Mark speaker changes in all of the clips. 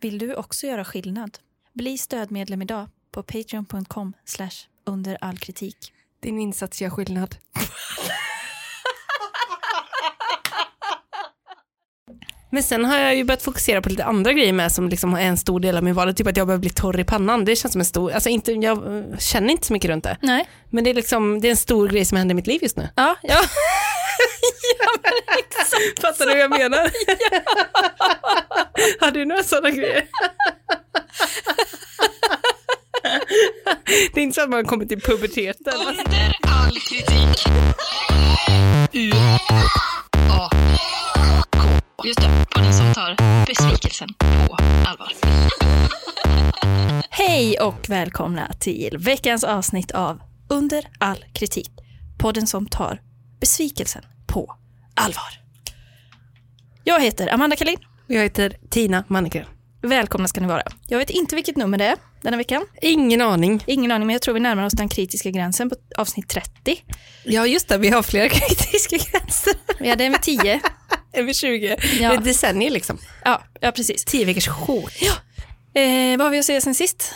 Speaker 1: Vill du också göra skillnad? Bli stödmedlem idag på patreon.com under all kritik.
Speaker 2: Din insats gör skillnad. Men sen har jag ju börjat fokusera på lite andra grejer med som liksom är en stor del av min vardag. Typ att jag börjar bli torr i pannan. Det känns som en stor, alltså inte, jag eh, känner inte så mycket runt det.
Speaker 1: Nej.
Speaker 2: Men det är liksom, det är en stor grej som händer i mitt liv just nu.
Speaker 1: Ja, ja.
Speaker 2: Fattar du vad jag menar? Har du några sådana grejer? Det är inte så att man kommer till puberteten.
Speaker 3: Under all kritik. U A K. Just det, podden som tar besvikelsen på allvar.
Speaker 1: Hej och välkomna till veckans avsnitt av Under all kritik. Podden som tar besvikelsen på allvar. Jag heter Amanda Kalin.
Speaker 2: Jag heter Tina Manneken.
Speaker 1: Välkomna ska ni vara. Jag vet inte vilket nummer det är denna veckan.
Speaker 2: Ingen aning.
Speaker 1: Ingen aning, men jag tror vi närmar oss den kritiska gränsen på avsnitt 30.
Speaker 2: Ja just det, vi har flera kritiska gränser.
Speaker 1: Vi hade en vid 10.
Speaker 2: Över 20.
Speaker 1: Ja.
Speaker 2: Det är decennier liksom.
Speaker 1: Ja, ja precis.
Speaker 2: 10 veckors chock.
Speaker 1: Eh, vad har vi att säga sen sist?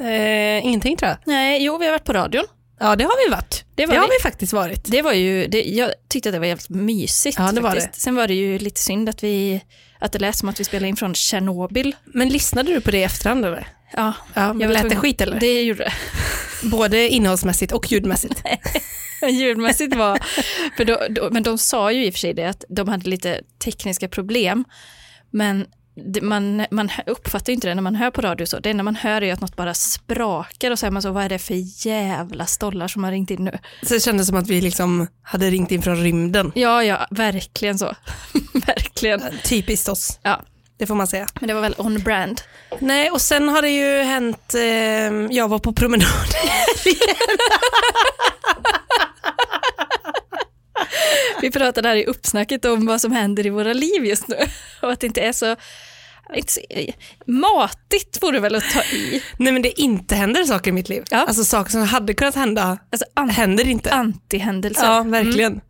Speaker 2: Eh, ingenting tror jag.
Speaker 1: Nej, jo, vi har varit på radion.
Speaker 2: Ja det har vi varit.
Speaker 1: Det var
Speaker 2: det har
Speaker 1: vi.
Speaker 2: vi faktiskt varit.
Speaker 1: Det var ju, det, jag tyckte att det var jävligt mysigt.
Speaker 2: Ja, det var
Speaker 1: faktiskt. Sen var det ju lite synd att, vi, att det lät som att vi spelade in från Tjernobyl.
Speaker 2: Men lyssnade du på det i efterhand eller?
Speaker 1: Ja,
Speaker 2: Ja,
Speaker 1: jag var
Speaker 2: lät det
Speaker 1: tvungen-
Speaker 2: skit eller?
Speaker 1: det gjorde det.
Speaker 2: Både innehållsmässigt och ljudmässigt.
Speaker 1: Ljudmässigt var... För då, då, men de sa ju i och för sig det, att de hade lite tekniska problem. Men det, man, man uppfattar ju inte det när man hör på radio. så. Det enda man hör är ju att något bara sprakar och så är man så, vad är det för jävla stollar som har ringt in nu?
Speaker 2: Så det kändes som att vi liksom hade ringt in från rymden.
Speaker 1: Ja, ja, verkligen så. verkligen.
Speaker 2: Typiskt oss,
Speaker 1: Ja,
Speaker 2: det får man säga.
Speaker 1: men det var väl on brand.
Speaker 2: Nej, och sen har det ju hänt, eh, jag var på promenad
Speaker 1: Vi pratade här i uppsnacket om vad som händer i våra liv just nu och att det inte är så, inte så matigt vore väl att ta i.
Speaker 2: Nej men det inte händer saker i mitt liv.
Speaker 1: Ja.
Speaker 2: Alltså saker som hade kunnat hända
Speaker 1: Alltså an-
Speaker 2: händer inte.
Speaker 1: antihändelser.
Speaker 2: ja, mm. verkligen.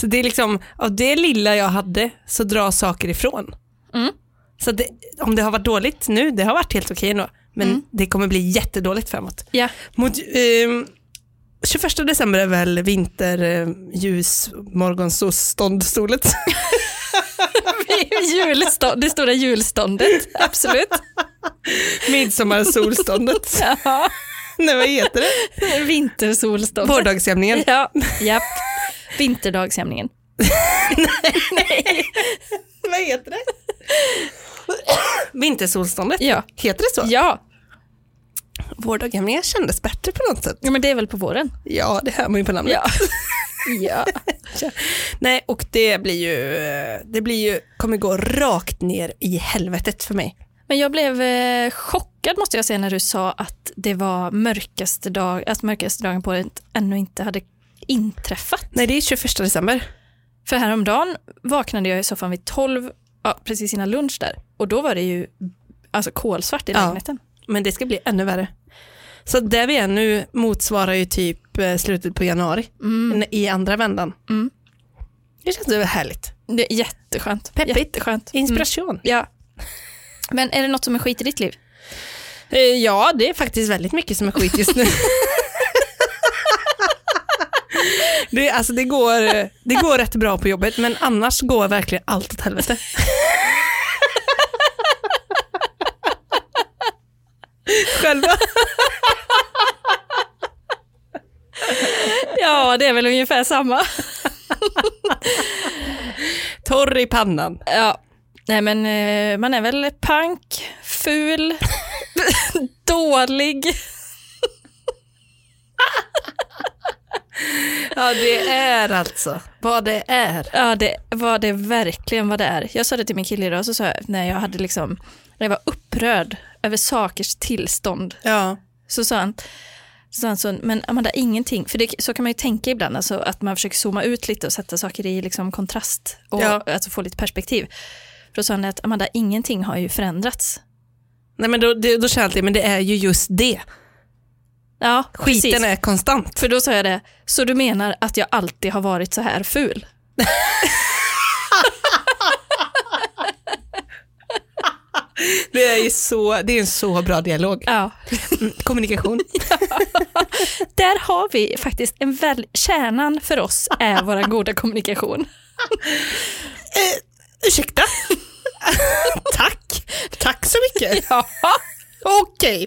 Speaker 2: Så det är liksom, av det lilla jag hade så drar saker ifrån.
Speaker 1: Mm.
Speaker 2: Så det, om det har varit dåligt nu, det har varit helt okej ändå. Men det kommer bli jättedåligt framåt.
Speaker 1: Ja,
Speaker 2: Mot, ehm, 21 december är väl ehm, vinterljus, morgonsolståndet.
Speaker 1: julstånd, det stora julståndet, absolut.
Speaker 2: Midsommarsolståndet.
Speaker 1: Ja.
Speaker 2: Nej vad heter det?
Speaker 1: Vintersolståndet.
Speaker 2: Vårdagsjämningen.
Speaker 1: Ja, japp. Vinterdagsjämningen.
Speaker 2: Vad heter det? Vintersolståndet.
Speaker 1: Ja.
Speaker 2: Heter det så?
Speaker 1: Ja.
Speaker 2: Vårdagjämningen kändes bättre på något sätt.
Speaker 1: ja, men det är väl på våren.
Speaker 2: Ja, det hör man ju på namnet.
Speaker 1: Ja. ja.
Speaker 2: Nej, och det blir ju, eh, det blir ju, kommer gå rakt ner i helvetet för mig.
Speaker 1: Men jag blev eh, chockad måste jag säga när du sa att det var mörkaste, dag, att mörkaste dagen på året ännu inte hade inträffat.
Speaker 2: Nej, det är 21 december.
Speaker 1: För häromdagen vaknade jag i soffan vid 12, ja, precis innan lunch där. Och då var det ju alltså kolsvart i
Speaker 2: Ja.
Speaker 1: lägenheten.
Speaker 2: Men det ska bli ännu värre. Så där vi är nu motsvarar ju typ eh, slutet på januari n- i andra vändan.
Speaker 1: Mm.
Speaker 2: Det känns ju härligt.
Speaker 1: Det är jätteskönt.
Speaker 2: Peppigt.
Speaker 1: Jätteskönt.
Speaker 2: Inspiration.
Speaker 1: Mm. Ja. Men är det något som är skit i ditt liv?
Speaker 2: Eh, Ja, det är faktiskt väldigt mycket som är skit just nu. Det, alltså det, går, det går rätt bra på jobbet, men annars går verkligen allt åt helvete. Själva?
Speaker 1: Ja, det är väl ungefär samma.
Speaker 2: Torr i pannan.
Speaker 1: Ja. Nej, men eh, man är väl pank, ful, dålig.
Speaker 2: Ja, det är alltså vad det är.
Speaker 1: Ja, det var det verkligen vad det är. Jag sa det till min kille idag, så sa jag, när jag hade liksom, när jag var upprörd över sakers tillstånd,
Speaker 2: Ja.
Speaker 1: så sa han, så sa han så, men Amanda, ingenting, för det, så kan man ju tänka ibland, alltså, att man försöker zooma ut lite och sätta saker i liksom, kontrast och
Speaker 2: Ja.
Speaker 1: alltså, få lite perspektiv. För då sa han att Amanda, ingenting har ju förändrats.
Speaker 2: Nej, men då, det, då känner jag alltid, men det är ju just det.
Speaker 1: Ja,
Speaker 2: Skiten
Speaker 1: precis.
Speaker 2: är konstant.
Speaker 1: För då sa jag det, så du menar att jag alltid har varit så här ful?
Speaker 2: Det är ju så, det är en så bra dialog.
Speaker 1: Ja.
Speaker 2: Mm, Kommunikation.
Speaker 1: Där har vi faktiskt en väl, kärnan för oss är vår goda kommunikation.
Speaker 2: Ursäkta? Tack. Tack så mycket. Ja. Okej.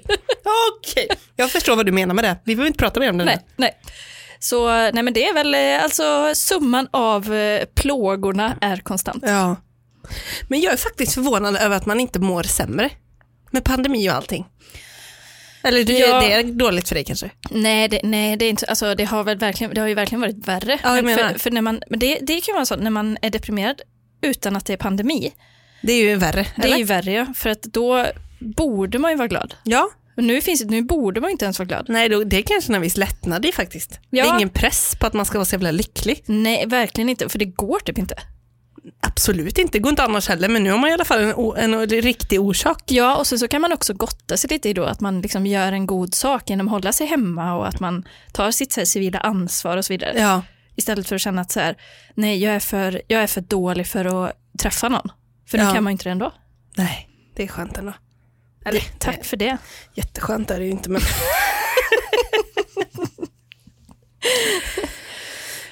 Speaker 2: Okej. Jag förstår vad du menar med det. Vi behöver inte prata mer om det
Speaker 1: Nej, nej. Så nej men det är väl eh, alltså summan av eh, plågorna är konstant.
Speaker 2: nu. Ja. Men jag är faktiskt förvånad över att man inte mår sämre. Med pandemi och allting. Eller du,
Speaker 1: Ja.
Speaker 2: det är dåligt för dig kanske?
Speaker 1: Nej, det, nej det, är inte, alltså, det, har väl verkligen, det har ju verkligen varit värre.
Speaker 2: Ja, jag
Speaker 1: Men
Speaker 2: menar.
Speaker 1: för, för när man, men det, det kan vara så när man är deprimerad utan att det är pandemi.
Speaker 2: Det är ju värre.
Speaker 1: Det är
Speaker 2: eller?
Speaker 1: ju värre ja, för att då borde man ju vara glad.
Speaker 2: Ja.
Speaker 1: Och nu, finns, nu borde man ju inte ens vara glad.
Speaker 2: Nej, då, det är kanske en viss lättnad i faktiskt. Det är
Speaker 1: Ja.
Speaker 2: ingen press på att man ska vara så jävla lycklig.
Speaker 1: Nej, verkligen inte, för det går typ inte.
Speaker 2: Absolut inte, det går inte annars heller, men nu har man i alla fall en, o- en, o- riktig orsak.
Speaker 1: Ja, och sen så kan man också gotta sig lite i då att man liksom gör en god sak genom att hålla sig hemma och att man tar sitt så här, civila ansvar och så vidare.
Speaker 2: Ja.
Speaker 1: Istället för att känna att så här, nej, jag är, för, jag är för dålig för att träffa någon. För nu
Speaker 2: Ja.
Speaker 1: kan man ju inte det ändå.
Speaker 2: Nej, det är skönt ändå.
Speaker 1: Det- Tack för det.
Speaker 2: Jätteskönt är det ju inte, men...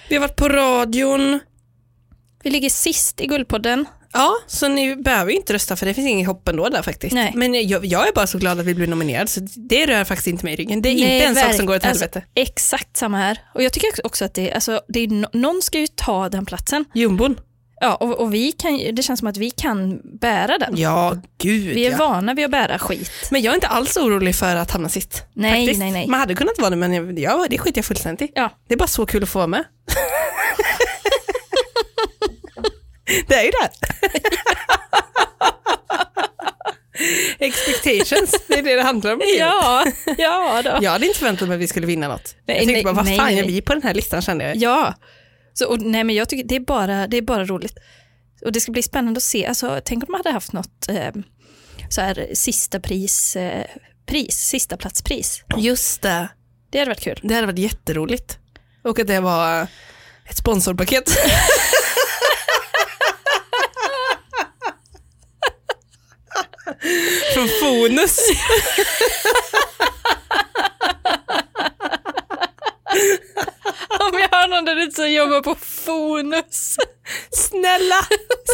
Speaker 2: Vi har varit på radion.
Speaker 1: Vi ligger sist i Guldpodden.
Speaker 2: Ja, så ni behöver ju inte rösta för det finns ingen hopp ändå där faktiskt.
Speaker 1: Nej.
Speaker 2: Men jag, jag är bara så glad att vi blev nominerade så det rör faktiskt inte mig i ryggen. Det är
Speaker 1: Nej,
Speaker 2: inte en sak
Speaker 1: verk-
Speaker 2: som går åt
Speaker 1: alltså-
Speaker 2: helvete.
Speaker 1: Exakt samma här. Och jag tycker också att det, alltså, det är, no- någon ska ju ta den platsen.
Speaker 2: Jumbon?
Speaker 1: Ja, och, och vi kan, ju- det känns som att vi kan bära den.
Speaker 2: Ja, gud
Speaker 1: Vi är
Speaker 2: ja.
Speaker 1: vana vid att bära skit.
Speaker 2: Men jag är inte alls orolig för att hamna sist.
Speaker 1: Nej,
Speaker 2: faktiskt.
Speaker 1: nej, nej.
Speaker 2: Man hade kunnat vara det, men jag, ja, det skiter jag fullständigt i.
Speaker 1: Ja.
Speaker 2: Det är bara så kul att få vara med. det är ju det. Expectations, det är det det handlar om.
Speaker 1: Ja, ja då.
Speaker 2: Jag hade inte förväntat mig att vi skulle vinna något.
Speaker 1: Nej,
Speaker 2: jag tänkte
Speaker 1: nej,
Speaker 2: bara, vad
Speaker 1: nej,
Speaker 2: fan
Speaker 1: nej.
Speaker 2: gör vi på den här listan kände jag.
Speaker 1: Ja. Så, och, nej, men jag tycker det är, bara, det är bara roligt. Och det ska bli spännande att se. Alltså, tänk om man hade haft något eh, så här, sista pris, eh, pris, sista platspris.
Speaker 2: Just det,
Speaker 1: Det hade varit kul.
Speaker 2: det hade varit jätteroligt. Och att det var eh, ett sponsorpaket. Från Fonus.
Speaker 1: Om jag har någon där ute som jobbar på Fonus.
Speaker 2: Snälla,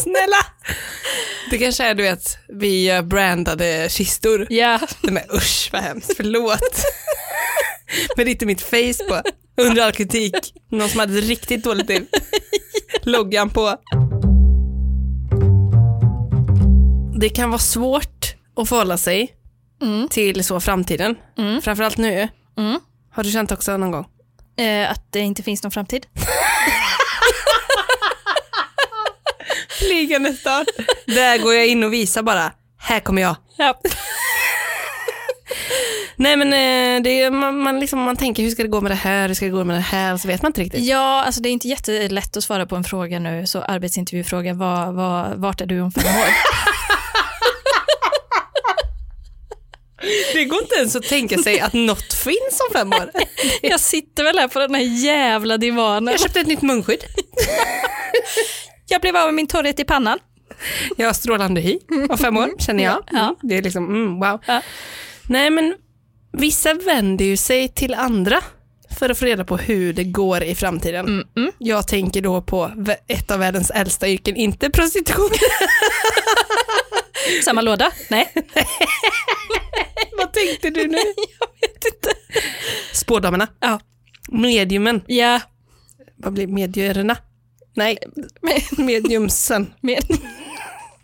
Speaker 2: snälla. Det kanske är du vet, vi gör brandade kistor.
Speaker 1: Ja,
Speaker 2: Nej men usch vad hemskt, förlåt. Men det är inte mitt face på. Under all kritik. Någon som hade ett riktigt dåligt liv. Loggan på. Det kan vara svårt att förhålla sig
Speaker 1: Mm.
Speaker 2: till så framtiden.
Speaker 1: Mm.
Speaker 2: Framförallt nu.
Speaker 1: Mm.
Speaker 2: Har du känt också någon gång?
Speaker 1: eh, att det inte finns någon framtid.
Speaker 2: Flygande start. Där går jag in och visar bara. Här kommer jag.
Speaker 1: Ja.
Speaker 2: Nej men eh, det är, man, man, liksom, man tänker hur ska det gå med det här, hur ska det gå med det här och så vet man inte riktigt.
Speaker 1: ja, alltså det är inte jättelätt att svara på en fråga nu, så arbetsintervjufråga, vad, vad, vart är du om fem år?
Speaker 2: Det går inte ens att tänka sig att något finns om fem år.
Speaker 1: Jag sitter väl här på den här jävla divanen.
Speaker 2: Jag köpte ett nytt munskydd.
Speaker 1: Jag blev av med min torrhet i pannan.
Speaker 2: Jag har strålande hy om fem år, känner jag.
Speaker 1: Ja.
Speaker 2: Mm, Det är liksom, mm, wow.
Speaker 1: Ja.
Speaker 2: Nej men vissa vänder ju sig till andra för att få reda på hur det går i framtiden.
Speaker 1: Mm, mm.
Speaker 2: Jag tänker då på vä- ett av världens äldsta yrken, inte prostitution.
Speaker 1: Samma låda? Nej.
Speaker 2: Vad tänkte du nu? Jag vet inte. Spådamerna.
Speaker 1: Ja.
Speaker 2: Mediumen.
Speaker 1: Ja,
Speaker 2: Vad blir medierna? Nej, mediumsen.
Speaker 1: med,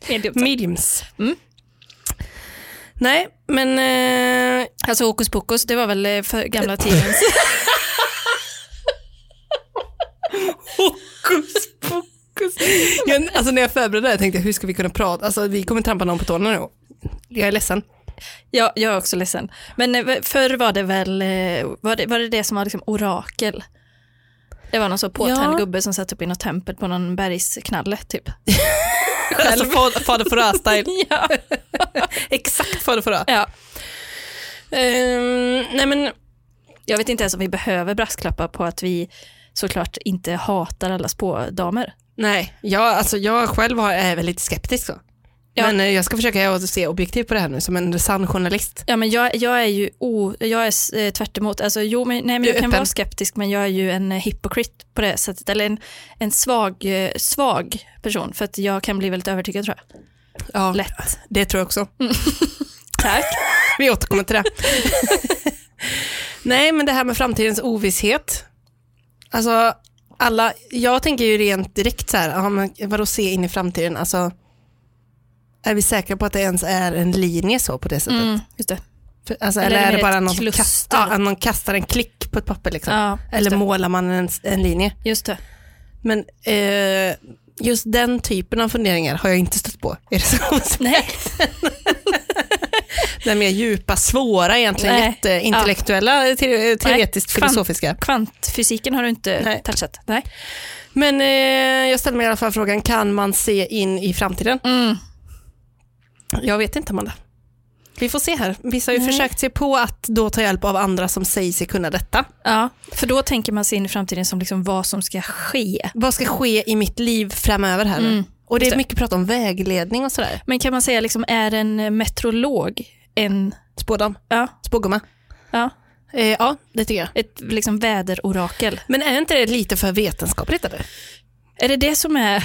Speaker 1: medium.
Speaker 2: Mediums.
Speaker 1: Mm.
Speaker 2: Nej, men eh,
Speaker 1: Alltså hokus pokus, det var väl eh, för gamla tidens.
Speaker 2: Oh. Hokus pokus. Jag, alltså när jag förberedde det här tänkte jag hur ska vi kunna prata? Alltså vi kommer trampa någon på tårna nu. Jag är ledsen.
Speaker 1: Ja, jag är också ledsen. Men eh, förr var det väl, eh, var det, var det det som var liksom orakel? Det var någon så påtänd
Speaker 2: Ja.
Speaker 1: gubbe som satt upp i något tempel på någon bergsknalle typ.
Speaker 2: Alltså fa- fader Fouras style.
Speaker 1: Ja.
Speaker 2: Exakt fader Fouras.
Speaker 1: ja.
Speaker 2: Ehm, nej men
Speaker 1: Jag vet inte ens om vi behöver brasklappa på att vi såklart inte hatar alla spådamer.
Speaker 2: nej, jag, alltså, jag själv har, är väl lite skeptisk så.
Speaker 1: Ja.
Speaker 2: Men eh, jag ska försöka att se objektivt på det här nu som en sann journalist.
Speaker 1: Ja, men jag, jag är ju o, jag är eh, tvärt emot. Alltså, jo, men, nej, men
Speaker 2: Du är
Speaker 1: jag kan
Speaker 2: öppen.
Speaker 1: vara skeptisk men jag är ju en eh, hypocrite på det sättet. Eller en, en svag, eh, svag person för att jag kan bli väldigt övertygad tror jag.
Speaker 2: Ja,
Speaker 1: Lätt.
Speaker 2: det tror jag också.
Speaker 1: Tack.
Speaker 2: Vi återkommer till det. Nej, men det här med framtidens ovisshet. Alltså, alla, jag tänker ju rent direkt så här, ja, men vadå se in i framtiden? Alltså, är vi säkra på att det ens är en linje så på det sättet?
Speaker 1: Mm, just det.
Speaker 2: För- Alltså,
Speaker 1: Eller
Speaker 2: eller,
Speaker 1: är
Speaker 2: är
Speaker 1: det
Speaker 2: det bara
Speaker 1: ett
Speaker 2: någon som,
Speaker 1: kluster?
Speaker 2: kast, ja, någon kastar en klick på ett papper liksom?
Speaker 1: Ja,
Speaker 2: eller
Speaker 1: just det.
Speaker 2: målar man en, en linje?
Speaker 1: Just det.
Speaker 2: Men eh, just den typen av funderingar har jag inte stött på. Är det så?
Speaker 1: Nej.
Speaker 2: Den mer djupa, svåra egentligen,
Speaker 1: Nej.
Speaker 2: jätteintellektuella, te- teoretiskt
Speaker 1: Nej.
Speaker 2: filosofiska.
Speaker 1: Kvantfysiken har du inte
Speaker 2: Nej.
Speaker 1: touchat. Nej.
Speaker 2: Men eh, jag ställer mig i alla fall frågan, kan man se in i framtiden?
Speaker 1: Mm.
Speaker 2: Jag vet inte Amanda. Vi får se här. Vissa har ju
Speaker 1: Nej.
Speaker 2: försökt sig på att då ta hjälp av andra som säger sig kunna detta.
Speaker 1: Ja, för då tänker man sig in i framtiden som liksom vad som ska ske.
Speaker 2: Vad ska ske i mitt liv framöver här nu?
Speaker 1: Mm,
Speaker 2: Och det
Speaker 1: just
Speaker 2: är
Speaker 1: det.
Speaker 2: mycket prat om vägledning och sådär.
Speaker 1: Men kan man säga, liksom, är en eh, metrolog en,
Speaker 2: Spådam,
Speaker 1: ja,
Speaker 2: spågumma.
Speaker 1: ja,
Speaker 2: Eh, ja, det tycker jag.
Speaker 1: ett liksom, väderorakel?
Speaker 2: Men är inte det lite för vetenskapligt eller?
Speaker 1: Är det det som är...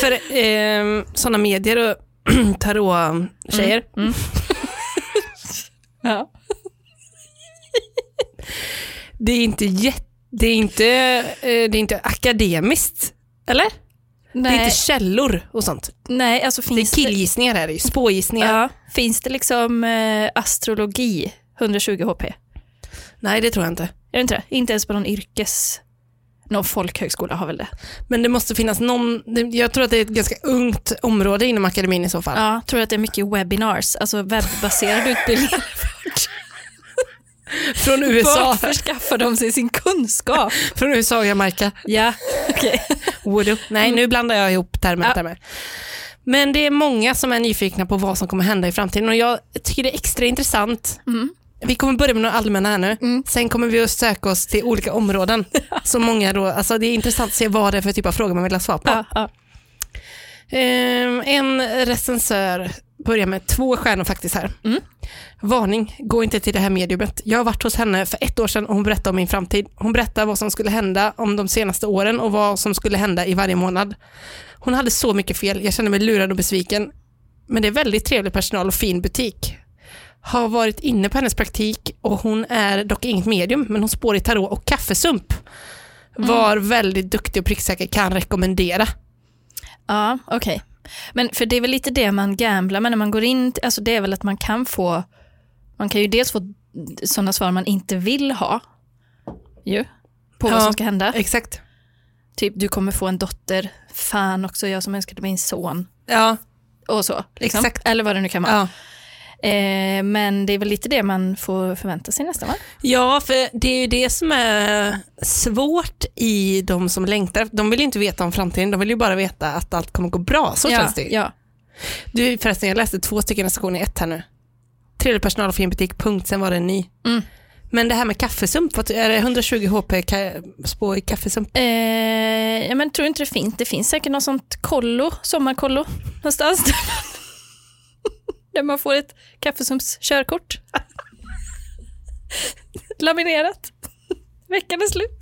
Speaker 2: För eh, sådana medier och tarot-tjejer,
Speaker 1: Mm. ja.
Speaker 2: det är inte jätte... Det är inte, eh, det är inte akademiskt, eller? Det är
Speaker 1: Nej,
Speaker 2: inte källor och sånt.
Speaker 1: nej, alltså
Speaker 2: Det
Speaker 1: finns
Speaker 2: är killgissningar här, det är ju spågissningar.
Speaker 1: ja, finns det liksom eh, astrologi 120 HP? Är
Speaker 2: Nej, det tror jag inte.
Speaker 1: det inte det? Inte ens på någon yrkes... Någon folkhögskola har väl det?
Speaker 2: Men det måste finnas någon, det- jag tror att det är ett ganska ungt område inom akademin i så fall.
Speaker 1: Ja, tror du att det är mycket webinars, alltså webbaserad utbildning?
Speaker 2: Från USA,
Speaker 1: Varför skaffar de sig sin kunskap?
Speaker 2: från USA och Jamaica.
Speaker 1: Ja, okej.
Speaker 2: Woodo. Nej, nu blandar jag ihop termer
Speaker 1: Ja.
Speaker 2: och termer. Men det är många som är nyfikna på vad som kommer hända i framtiden och jag tycker det är extra intressant. Vi kommer börja med några allmänna här nu. Sen kommer vi att söka oss till olika områden. Så många då, alltså det är intressant att se vad det är för typ av frågor man vill ha svar på.
Speaker 1: Ja, ja.
Speaker 2: Ehm, en recensör börjar med två stjärnor faktiskt här. Varning, gå inte till det här mediumet. Jag har varit hos henne för ett år sedan och hon berättade om min framtid. Hon berättade vad som skulle hända om de senaste åren och vad som skulle hända i varje månad. Hon hade så mycket fel, jag kände mig lurad och besviken. Men det är väldigt trevlig personal och fin butik. Har varit inne på hennes praktik och hon är dock inget medium, men hon spår i tarot och kaffesump. Var väldigt duktig och pricksäker, kan rekommendera.
Speaker 1: ja okej. Men för det är väl lite det man gamblar med när man går in, t- alltså det är väl att man kan få, man kan ju dels få sådana svar man inte vill ha, ju, på vad
Speaker 2: Ja.
Speaker 1: som ska hända.
Speaker 2: Exakt.
Speaker 1: Typ, du kommer få en dotter, fan också, jag som önskade mig en son.
Speaker 2: Ja,
Speaker 1: Och så. Liksom.
Speaker 2: Exakt.
Speaker 1: Eller vad det nu kan vara.
Speaker 2: Ja.
Speaker 1: Eh, men det är väl lite det man får förvänta sig nästan va?
Speaker 2: ja, för det är ju det som är svårt i de som längtar. De vill ju inte veta om framtiden, de vill ju bara veta att allt kommer gå bra. Så
Speaker 1: ja,
Speaker 2: känns det ju.
Speaker 1: ja.
Speaker 2: Du, förresten, jag läste två stycken recensioner i ett här nu. Trevlig personal och fin butik, punkt, sen var det en ny.
Speaker 1: Mm.
Speaker 2: Men det här med kaffesump, vad- är det 120 HP ka- spå i kaffesump?
Speaker 1: Eh, ja, men tror inte det finns. Det finns säkert något sånt kollo, sommarkollo någonstans. Där man, där man får ett kaffesumps körkort. Laminerat. Veckan är slut.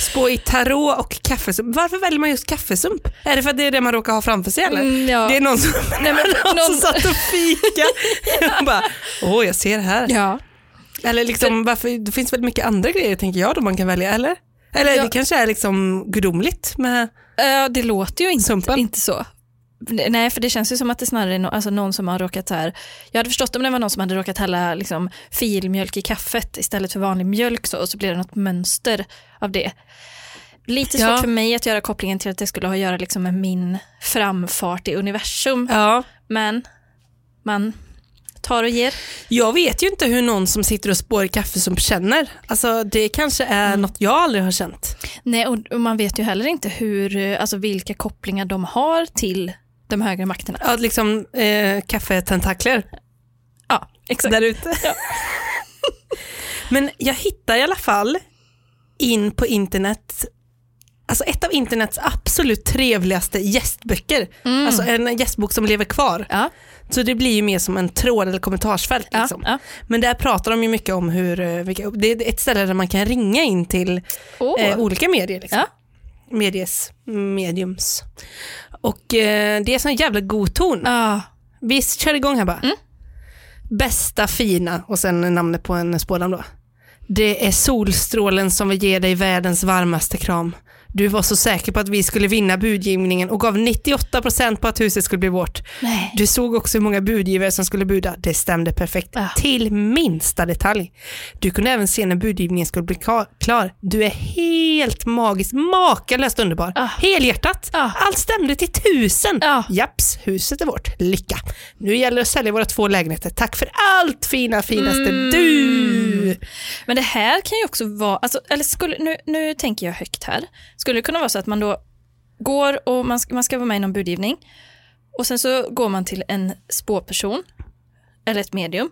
Speaker 2: Spå i tarot och kaffesump. Varför väljer man just kaffesump? Är det för att det är det man råkar ha framför sig eller?
Speaker 1: Mm, ja.
Speaker 2: Det är någon som,
Speaker 1: Nej, men
Speaker 2: någon som
Speaker 1: någon-
Speaker 2: satt och fika. och bara, åh jag ser här.
Speaker 1: Ja.
Speaker 2: Eller liksom, varför, det finns väl mycket andra grejer tänker jag då man kan välja, eller? Eller
Speaker 1: Ja.
Speaker 2: det kanske är liksom gudomligt med
Speaker 1: Eh, det låter ju inte,
Speaker 2: sumpen.
Speaker 1: inte så. Nej, för det känns ju som att det snarare är no- alltså någon som har råkat så här. Jag hade förstått om det var någon som hade råkat hälla liksom, filmjölk i kaffet istället för vanlig mjölk så, och så blir det något mönster av det. Lite svårt
Speaker 2: Ja.
Speaker 1: för mig att göra kopplingen till att det skulle ha att göra liksom, med min framfart i universum.
Speaker 2: Ja.
Speaker 1: Men man tar och ger.
Speaker 2: Jag vet ju inte hur någon som sitter och spår i kaffe som känner. Alltså det kanske är
Speaker 1: Mm.
Speaker 2: något jag aldrig har känt.
Speaker 1: Nej, och, och man vet ju heller inte hur, eh, alltså, vilka kopplingar de har till de högre makterna.
Speaker 2: Ja, liksom eh, kaffetentakler
Speaker 1: Ja, exakt.
Speaker 2: där ute. Men jag hittar i alla fall in på internet alltså ett av internets absolut trevligaste gästböcker.
Speaker 1: Mm.
Speaker 2: Alltså en gästbok som lever kvar.
Speaker 1: Ja,
Speaker 2: Så det blir ju mer som en tråd eller kommentarsfält.
Speaker 1: ja,
Speaker 2: Liksom.
Speaker 1: ja.
Speaker 2: Men där pratar de ju mycket om hur, eh, vilka, det är ett ställe där man kan ringa in till
Speaker 1: Åh.
Speaker 2: eh, olika medier. Liksom.
Speaker 1: Ja.
Speaker 2: Medies, mediums. Och eh, det är sån jävla god ton.
Speaker 1: Ah,
Speaker 2: Vi kör igång här bara.
Speaker 1: Mm.
Speaker 2: Bästa fina och sen namnet på en spådam då. Det är solstrålen som vill ge dig världens varmaste kram. Du var så säker på att vi skulle vinna budgivningen och gav 98% på att huset skulle bli vårt.
Speaker 1: nej.
Speaker 2: Du såg också hur många budgivare som skulle buda. Det stämde perfekt.
Speaker 1: Ja.
Speaker 2: Till minsta detalj. Du kunde även se när budgivningen skulle bli ka- klar. Du är helt magisk, makalöst underbar.
Speaker 1: Ja.
Speaker 2: Helhjärtat.
Speaker 1: Ja.
Speaker 2: Allt stämde till tusen.
Speaker 1: Ja.
Speaker 2: Japs, huset är vårt. Lycka. Nu gäller det att sälja våra två lägenheter. Tack för allt fina, finaste du.
Speaker 1: Men det här kan ju också vara, alltså, eller skulle, nu, nu tänker jag högt här. Skulle det kunna vara så att man då går och man ska, man ska vara med i någon budgivning och sen så går man till en spåperson eller ett medium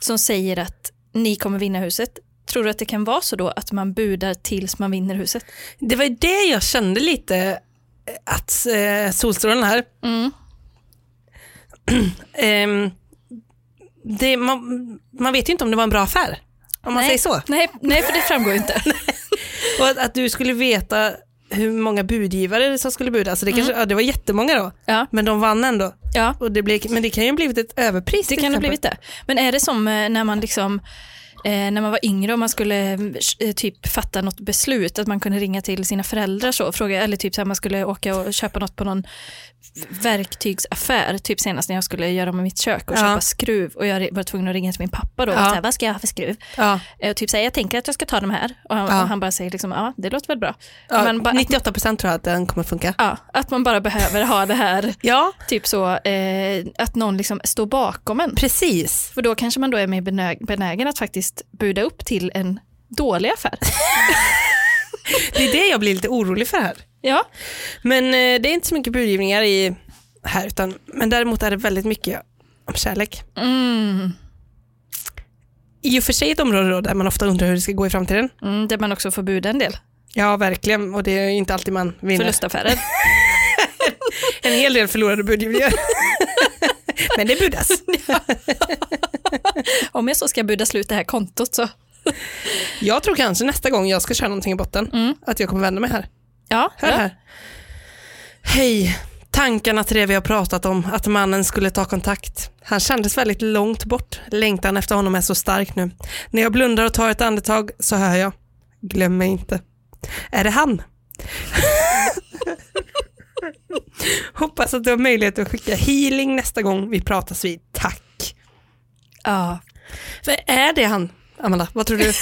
Speaker 1: som säger att ni kommer vinna huset. Tror du att det kan vara så då att man budar tills man vinner huset?
Speaker 2: Det var ju det jag kände lite eh, att eh, Solstrålen här.
Speaker 1: Mm.
Speaker 2: Ehm, det, man, man vet ju inte om det var en bra affär. Om man
Speaker 1: nej,
Speaker 2: säger så.
Speaker 1: Nej, nej, för det framgår ju inte.
Speaker 2: Och att, att du skulle veta hur många budgivare som skulle buda. Alltså det,
Speaker 1: Mm.
Speaker 2: kanske, ja, det var jättemånga då,
Speaker 1: Ja,
Speaker 2: men de vann ändå.
Speaker 1: ja.
Speaker 2: Och det blev, men det kan ju ha blivit ett överpris.
Speaker 1: Det
Speaker 2: till
Speaker 1: kan ha
Speaker 2: exempel.
Speaker 1: blivit det. Men är det som eh, när man liksom eh, när man var yngre och man skulle eh, typ fatta något beslut, att man kunde ringa till sina föräldrar så, och fråga, eller typ så här, man skulle åka och köpa något på någon verktygsaffär, typ senast när jag skulle göra med mitt kök och
Speaker 2: Ja.
Speaker 1: köpa skruv och jag var tvungen att ringa till min pappa då, och
Speaker 2: Ja.
Speaker 1: så här, vad ska jag ha för skruv?
Speaker 2: Ja,
Speaker 1: Eh, Och typ säga, jag tänker att jag ska ta de här och han,
Speaker 2: Ja.
Speaker 1: och han bara säger liksom, ja det låter väl bra.
Speaker 2: ja,
Speaker 1: Men bara-
Speaker 2: 98 procent tror jag att den kommer funka.
Speaker 1: Ja, att man bara behöver ha det här,
Speaker 2: Ja,
Speaker 1: typ så, eh, att någon liksom står bakom en.
Speaker 2: precis.
Speaker 1: För då kanske man då är mer benä- benägen att faktiskt buda upp till en dålig affär.
Speaker 2: Det är det jag blir lite orolig för här.
Speaker 1: Ja,
Speaker 2: Men eh, det är inte så mycket budgivningar i här, utan, men däremot är det väldigt mycket om kärlek.
Speaker 1: mm.
Speaker 2: I och för sig ett område då, där man ofta undrar hur det ska gå i framtiden.
Speaker 1: Mm, där man också får buda en del.
Speaker 2: Ja, verkligen. Och det är ju inte alltid man vinner.
Speaker 1: Förlustaffärer.
Speaker 2: En hel del förlorade budgivningar. Men det budas.
Speaker 1: Om jag så ska buda slut det här kontot så.
Speaker 2: Jag tror kanske nästa gång jag ska köra någonting i botten
Speaker 1: Mm.
Speaker 2: att jag kommer vända mig här.
Speaker 1: Ja,
Speaker 2: Hör
Speaker 1: ja.
Speaker 2: här. Hej. Tankarna till det vi har pratat om, att mannen skulle ta kontakt. Han kändes väldigt långt bort. Längtan efter honom är så stark nu. När jag blundar och tar ett andetag så hör jag. Glöm mig inte. Är det han? Hoppas att du har möjlighet att skicka healing nästa gång vi pratas vid. Tack.
Speaker 1: ja.
Speaker 2: För är det han? Amanda, vad tror du?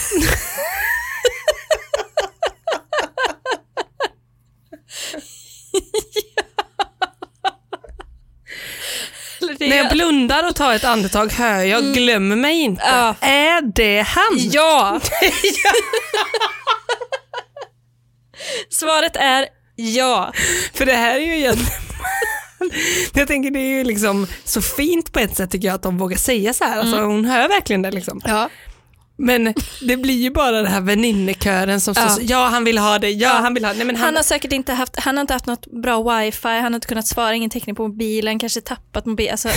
Speaker 1: Eller det-
Speaker 2: När jag blundar och tar ett andetag hör jag, glömmer mig inte.
Speaker 1: Mm. Ja.
Speaker 2: Är det han?
Speaker 1: ja. Svaret är ja.
Speaker 2: För det här är ju egentligen... jag tänker det är ju liksom så fint på ett sätt tycker jag att de vågar säga så här. Alltså,
Speaker 1: Mm.
Speaker 2: Hon hör verkligen det liksom.
Speaker 1: Ja.
Speaker 2: Men det blir ju bara den här väninnekören som
Speaker 1: Ja.
Speaker 2: står så, ja han vill ha det, ja, han vill ha det. Nej, men
Speaker 1: Han har säkert inte haft, han har inte haft något bra wifi, han har inte kunnat svara, ingen täckning på mobilen, kanske tappat mobilen. Alltså,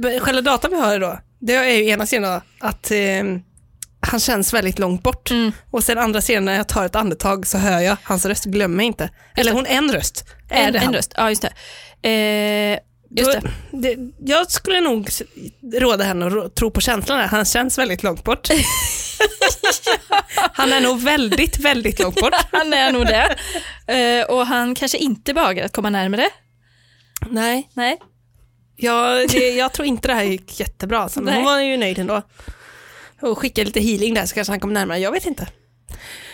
Speaker 2: Själva datan vi har då, det är ju ena sidan då, att eh, han känns väldigt långt bort.
Speaker 1: Mm.
Speaker 2: Och sen andra sidan när jag tar ett andetag så hör jag hans röst, glöm mig inte. Eller hon, en röst. Är
Speaker 1: en,
Speaker 2: det
Speaker 1: en
Speaker 2: han?
Speaker 1: röst. Ja, just det. Eh, just det.
Speaker 2: Då- det- Jag skulle nog s- råda henne att rå- tro på känslan. där. Han känns väldigt långt bort. Han är nog väldigt, väldigt långt bort.
Speaker 1: Han är nog det. Eh, och han kanske inte behagar att komma närmare.
Speaker 2: Nej,
Speaker 1: Nej.
Speaker 2: jag, det, jag tror inte det här gick jättebra. alltså, Men hon
Speaker 1: Nej.
Speaker 2: var ju nöjd ändå. Och skickade lite healing där så kanske han kom närmare. Jag vet inte.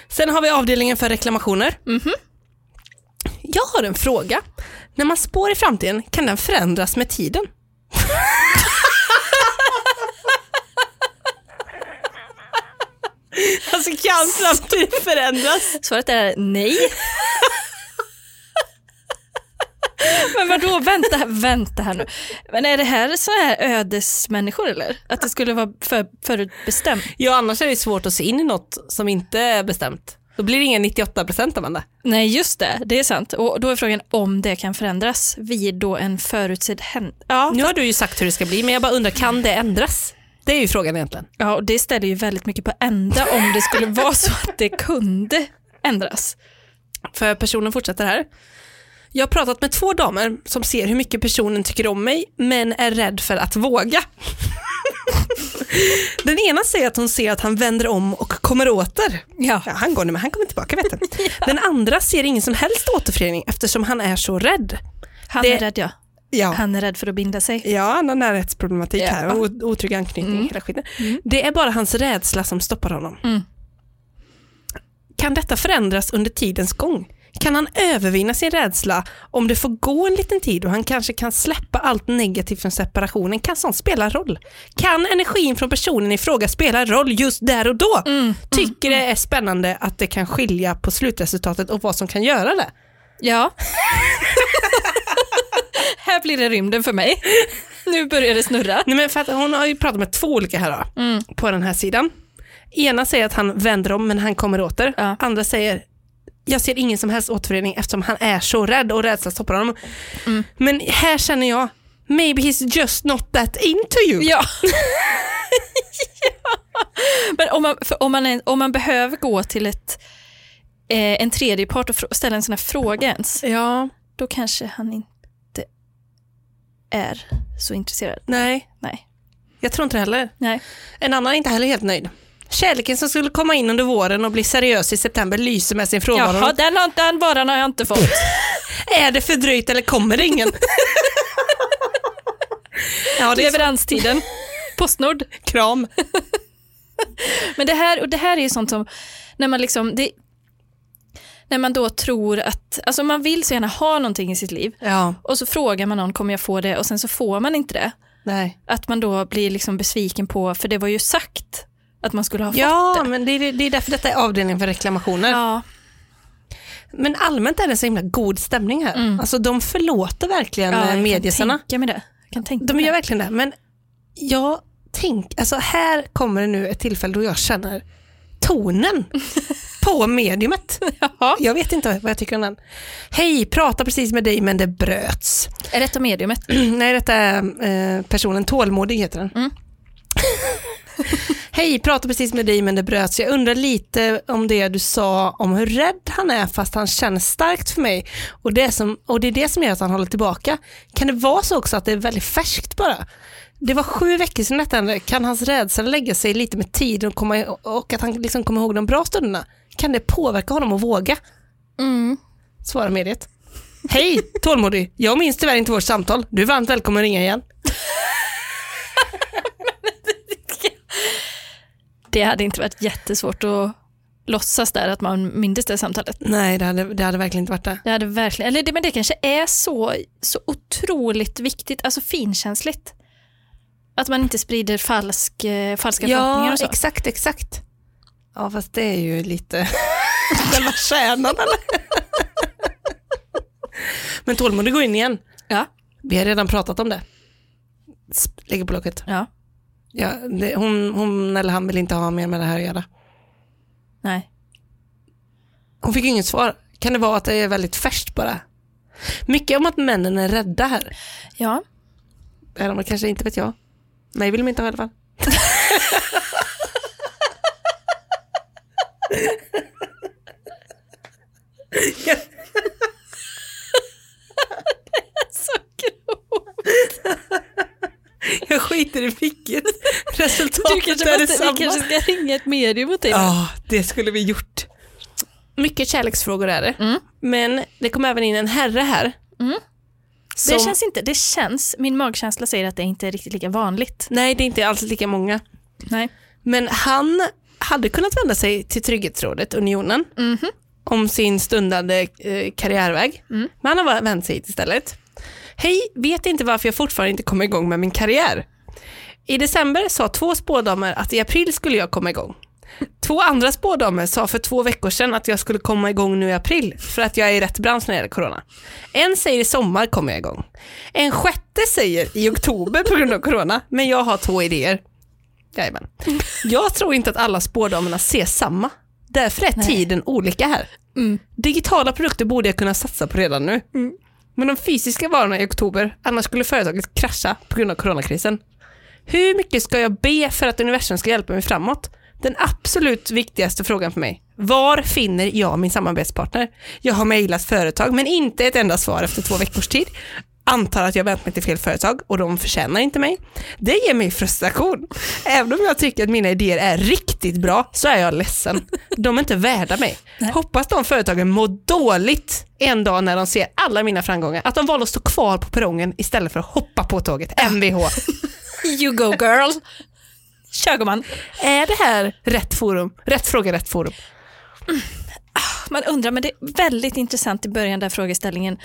Speaker 2: Sen har vi avdelningen för reklamationer. Jag har en fråga. När man spår i framtiden, kan den förändras med tiden? alltså kan framtiden förändras?
Speaker 1: Svaret är nej. Men vadå, vänta, här- vänta här nu. Men är det här sådana här ödesmänniskor eller? Att det skulle vara för, förutbestämt?
Speaker 2: Ja, annars är det svårt att se in i något som inte är bestämt. Då blir det ingen 98 procent, Amanda.
Speaker 1: Nej, just det. Det är sant. Och då är frågan om det kan förändras vid då en förutsedd händelse. Ja,
Speaker 2: Nu har du ju sagt hur det ska bli, men jag bara undrar, kan det ändras? Det är ju frågan egentligen.
Speaker 1: ja, och det ställer ju väldigt mycket på ända om det skulle vara så att det kunde ändras.
Speaker 2: För personen fortsätter här. Jag har pratat med två damer som ser hur mycket personen tycker om mig men är rädd för att våga. Den ena säger att hon ser att han vänder om och kommer åter.
Speaker 1: Ja.
Speaker 2: Ja, han går nu men han kommer tillbaka vet du. Den andra ser ingen som helst återförening eftersom han är så rädd.
Speaker 1: Han
Speaker 2: Det-
Speaker 1: är rädd, ja.
Speaker 2: Ja.
Speaker 1: Han är rädd för att binda sig.
Speaker 2: Ja, han har närhetsproblematik
Speaker 1: Ja.
Speaker 2: här. O- otrygg anknytning, hela skiten. Det är bara hans rädsla som stoppar honom.
Speaker 1: Mm.
Speaker 2: Kan detta förändras under tidens gång? Kan han övervinna sin rädsla om det får gå en liten tid och han kanske kan släppa allt negativt från separationen? Kan sånt spela roll? Kan energin från personen i fråga spela roll just där och då? Tycker det är spännande att det kan skilja på slutresultatet och vad som kan göra det.
Speaker 1: Ja. här blir det rymden för mig. Nu börjar det snurra.
Speaker 2: Nej, men för att hon har ju pratat med två olika här då,
Speaker 1: Mm.
Speaker 2: på den här sidan. Ena säger att han vänder om men han kommer åter.
Speaker 1: Ja.
Speaker 2: Andra säger jag ser ingen som helst återförening eftersom han är så rädd och rädslan stoppar honom.
Speaker 1: Mm.
Speaker 2: Men här känner jag, maybe he's just not that into you.
Speaker 1: Ja. Men om man, för om, man är, om man behöver gå till ett, eh, en tredje part och frå- ställa en sån här fråga ens,
Speaker 2: Ja,
Speaker 1: då kanske han inte är så intresserad.
Speaker 2: nej,
Speaker 1: Nej.
Speaker 2: jag tror inte det heller.
Speaker 1: Nej.
Speaker 2: En annan är inte heller helt nöjd. Kärleken som skulle komma in under våren och bli seriös i september lyser med sin frånvaro.
Speaker 1: Jaha, den, har, den varan har jag inte fått.
Speaker 2: Är det fördröjt eller kommer det ingen? ja, det är väl
Speaker 1: Leveranstiden. Postnord.
Speaker 2: kram.
Speaker 1: Men det här, och det här är ju sånt som, när man liksom, det, när man då tror att, alltså man vill så gärna ha någonting i sitt liv
Speaker 2: Ja,
Speaker 1: och så frågar man någon, kommer jag få det? Och sen så får man inte det.
Speaker 2: nej.
Speaker 1: Att man då blir liksom besviken på, för det var ju sagt att man skulle ha fått
Speaker 2: Ja,
Speaker 1: det.
Speaker 2: men det är, det är därför detta är avdelningen för reklamationer.
Speaker 1: Ja,
Speaker 2: Men allmänt är det så himla god stämning här. Alltså de förlåter verkligen
Speaker 1: Mm. ja,
Speaker 2: ja,
Speaker 1: Jag
Speaker 2: eh, mediesarna.
Speaker 1: kan tänka mig det. Jag kan tänka
Speaker 2: De
Speaker 1: mig
Speaker 2: gör
Speaker 1: det.
Speaker 2: verkligen det. Men jag tänk, alltså här kommer det nu ett tillfälle då jag känner tonen på mediumet.
Speaker 1: Jaha.
Speaker 2: Jag vet inte vad jag tycker om den. Hej, pratar precis med dig men det bröts.
Speaker 1: Är detta mediumet?
Speaker 2: Nej, detta är eh, personen Tålmodig heter den. Hej, pratar precis med dig men det bröts. Jag undrar lite om det du sa om hur rädd han är fast han känner starkt för mig. Och det, är som, och det är det som gör att han håller tillbaka. Kan det vara så också att det är väldigt färskt bara? Det var sju veckor sedan detta hände. Kan hans rädsla lägga sig lite med tiden och, komma, och att han liksom kommer ihåg de bra stunderna? Kan det påverka honom att våga?
Speaker 1: Mm.
Speaker 2: Svara mediet. Hej, tålmodig. Jag minns tyvärr inte vårt samtal. Du är varmt välkommen att ringa igen.
Speaker 1: Det hade inte varit jättesvårt att låtsas där att man mindes det samtalet.
Speaker 2: Nej, det hade, det hade verkligen inte varit det.
Speaker 1: Det hade verkligen, eller det, men det kanske är så, så otroligt viktigt, alltså finkänsligt. Att man inte sprider falsk, eh, falska förhoppningar
Speaker 2: Ja,
Speaker 1: och så.
Speaker 2: exakt, exakt. Ja, fast det är ju lite själva kärnan eller? Men tålmodig går in igen.
Speaker 1: Ja.
Speaker 2: Vi har redan pratat om det. Sp- Lägger på locket.
Speaker 1: ja,
Speaker 2: Ja, det, hon, hon eller han vill inte ha mer med det här att göra.
Speaker 1: nej.
Speaker 2: Hon fick inget svar. Kan det vara att det är väldigt färskt bara? Mycket om att männen är rädda här.
Speaker 1: Ja.
Speaker 2: Eller om det kanske inte vet jag. Mig vill de inte ha i alla fall.
Speaker 1: Så grovt.
Speaker 2: Jag skiter i vilket.
Speaker 1: Du
Speaker 2: Resultatet
Speaker 1: kanske, måste, vi kanske ska ringa ett medium åt dig.
Speaker 2: Ja, det skulle vi gjort. Mycket kärleksfrågor är det.
Speaker 1: Mm.
Speaker 2: Men det kom även in en herre här. Som,
Speaker 1: Det känns inte, det känns, min magkänsla säger att det inte är riktigt lika vanligt.
Speaker 2: Nej, det är inte alls lika många.
Speaker 1: Nej.
Speaker 2: Men han hade kunnat vända sig till Trygghetsrådet, Unionen, om sin stundande eh, karriärväg. Men han har vänt sig hit istället. Hej, vet inte varför jag fortfarande inte kommer igång med min karriär. I december sa två spådamer att i april skulle jag komma igång. Två andra spådamer sa för två veckor sedan att jag skulle komma igång nu i april för att jag är i rätt bransch när det gäller corona. En säger i sommar kommer jag igång. En sjätte säger i oktober på grund av corona, men jag har två idéer. Jajamän. Jag tror inte att alla spådamerna ser samma. Därför är tiden olika här.
Speaker 1: Mm.
Speaker 2: Digitala produkter borde jag kunna satsa på redan nu.
Speaker 1: Mm.
Speaker 2: Men de fysiska varorna i oktober, annars skulle företaget krascha på grund av coronakrisen. Hur mycket ska jag be för att universum ska hjälpa mig framåt? Den absolut viktigaste frågan för mig. Var finner jag min samarbetspartner? Jag har mejlat företag men inte ett enda svar efter två veckors tid. Antar att jag vänt mig till fel företag och de förtjänar inte mig. Det ger mig frustration. Även om jag tycker att mina idéer är riktigt bra så är jag ledsen. De är inte värda mig. Hoppas de företagen mår dåligt en dag när de ser alla mina framgångar. Att de valde att stå kvar på perrongen istället för att hoppa på tåget. Mvh.
Speaker 1: You go girl. Kör gumman.
Speaker 2: Är det här rätt forum? Rätt fråga, rätt forum.
Speaker 1: Man undrar, men det är väldigt intressant i början där frågeställningen.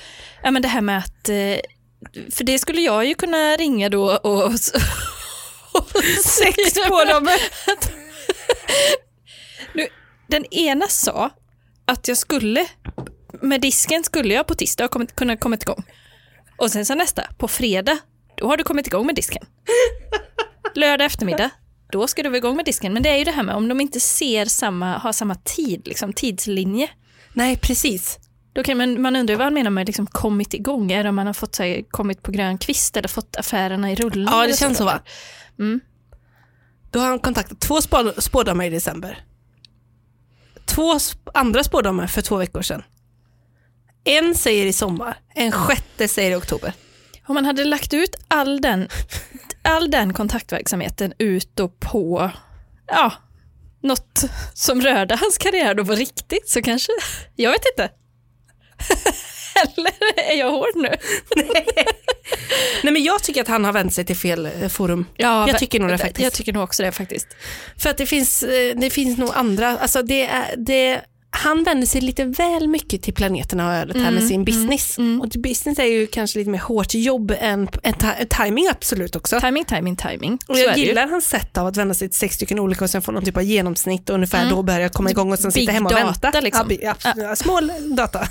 Speaker 1: Ja, men det här med att, eh, för det skulle jag ju kunna ringa då och, och, sex på dem. nu, den ena sa att jag skulle, med disken skulle jag på tisdag ha kommit, kunnat kommit igång. Och sen sa nästa, på fredag, då har du kommit igång med disken. Lördag eftermiddag, då ska du vara igång med disken. Men det är ju det här med om de inte ser samma, har samma tid, liksom tidslinje.
Speaker 2: Nej, precis.
Speaker 1: Då kan man, man undra vad han menar med liksom kommit igång. Är det om man har fått, så här, kommit på grön kvist eller fått affärerna i rullning?
Speaker 2: Ja,
Speaker 1: eller
Speaker 2: det känns så va?
Speaker 1: Mm.
Speaker 2: Då har han kontaktat två spå- spådamer i december. Två sp- andra spådamer för två veckor sedan. En säger i sommar, en sjätte säger i oktober.
Speaker 1: Om man hade lagt ut all den, all den kontaktverksamheten ut och på ja, något som rörde hans karriär då på riktigt så kanske, jag vet inte. eller är jag hård nu?
Speaker 2: Nej men jag tycker att han har vänt sig till fel eh, forum.
Speaker 1: Ja,
Speaker 2: jag tycker nog det faktiskt.
Speaker 1: Jag tycker nog också det faktiskt.
Speaker 2: För att det finns, eh, det finns nog andra, alltså det är, det, han vänder sig lite väl mycket till planeterna och ödet här med
Speaker 1: Mm,
Speaker 2: sin business. Och business är ju kanske lite mer hårt jobb än, än, ti- timing absolut också.
Speaker 1: Timing, timing, timing.
Speaker 2: Och
Speaker 1: Så är
Speaker 2: jag
Speaker 1: det ju.
Speaker 2: gillar hans sätt av att vända sig till sex stycken olika och sen få någon typ av genomsnitt och ungefär då börjar jag komma igång och sen
Speaker 1: Mm. Big
Speaker 2: sitta hemma och
Speaker 1: data,
Speaker 2: vänta.
Speaker 1: liksom.
Speaker 2: Ja, bi- ja, ja, Small data.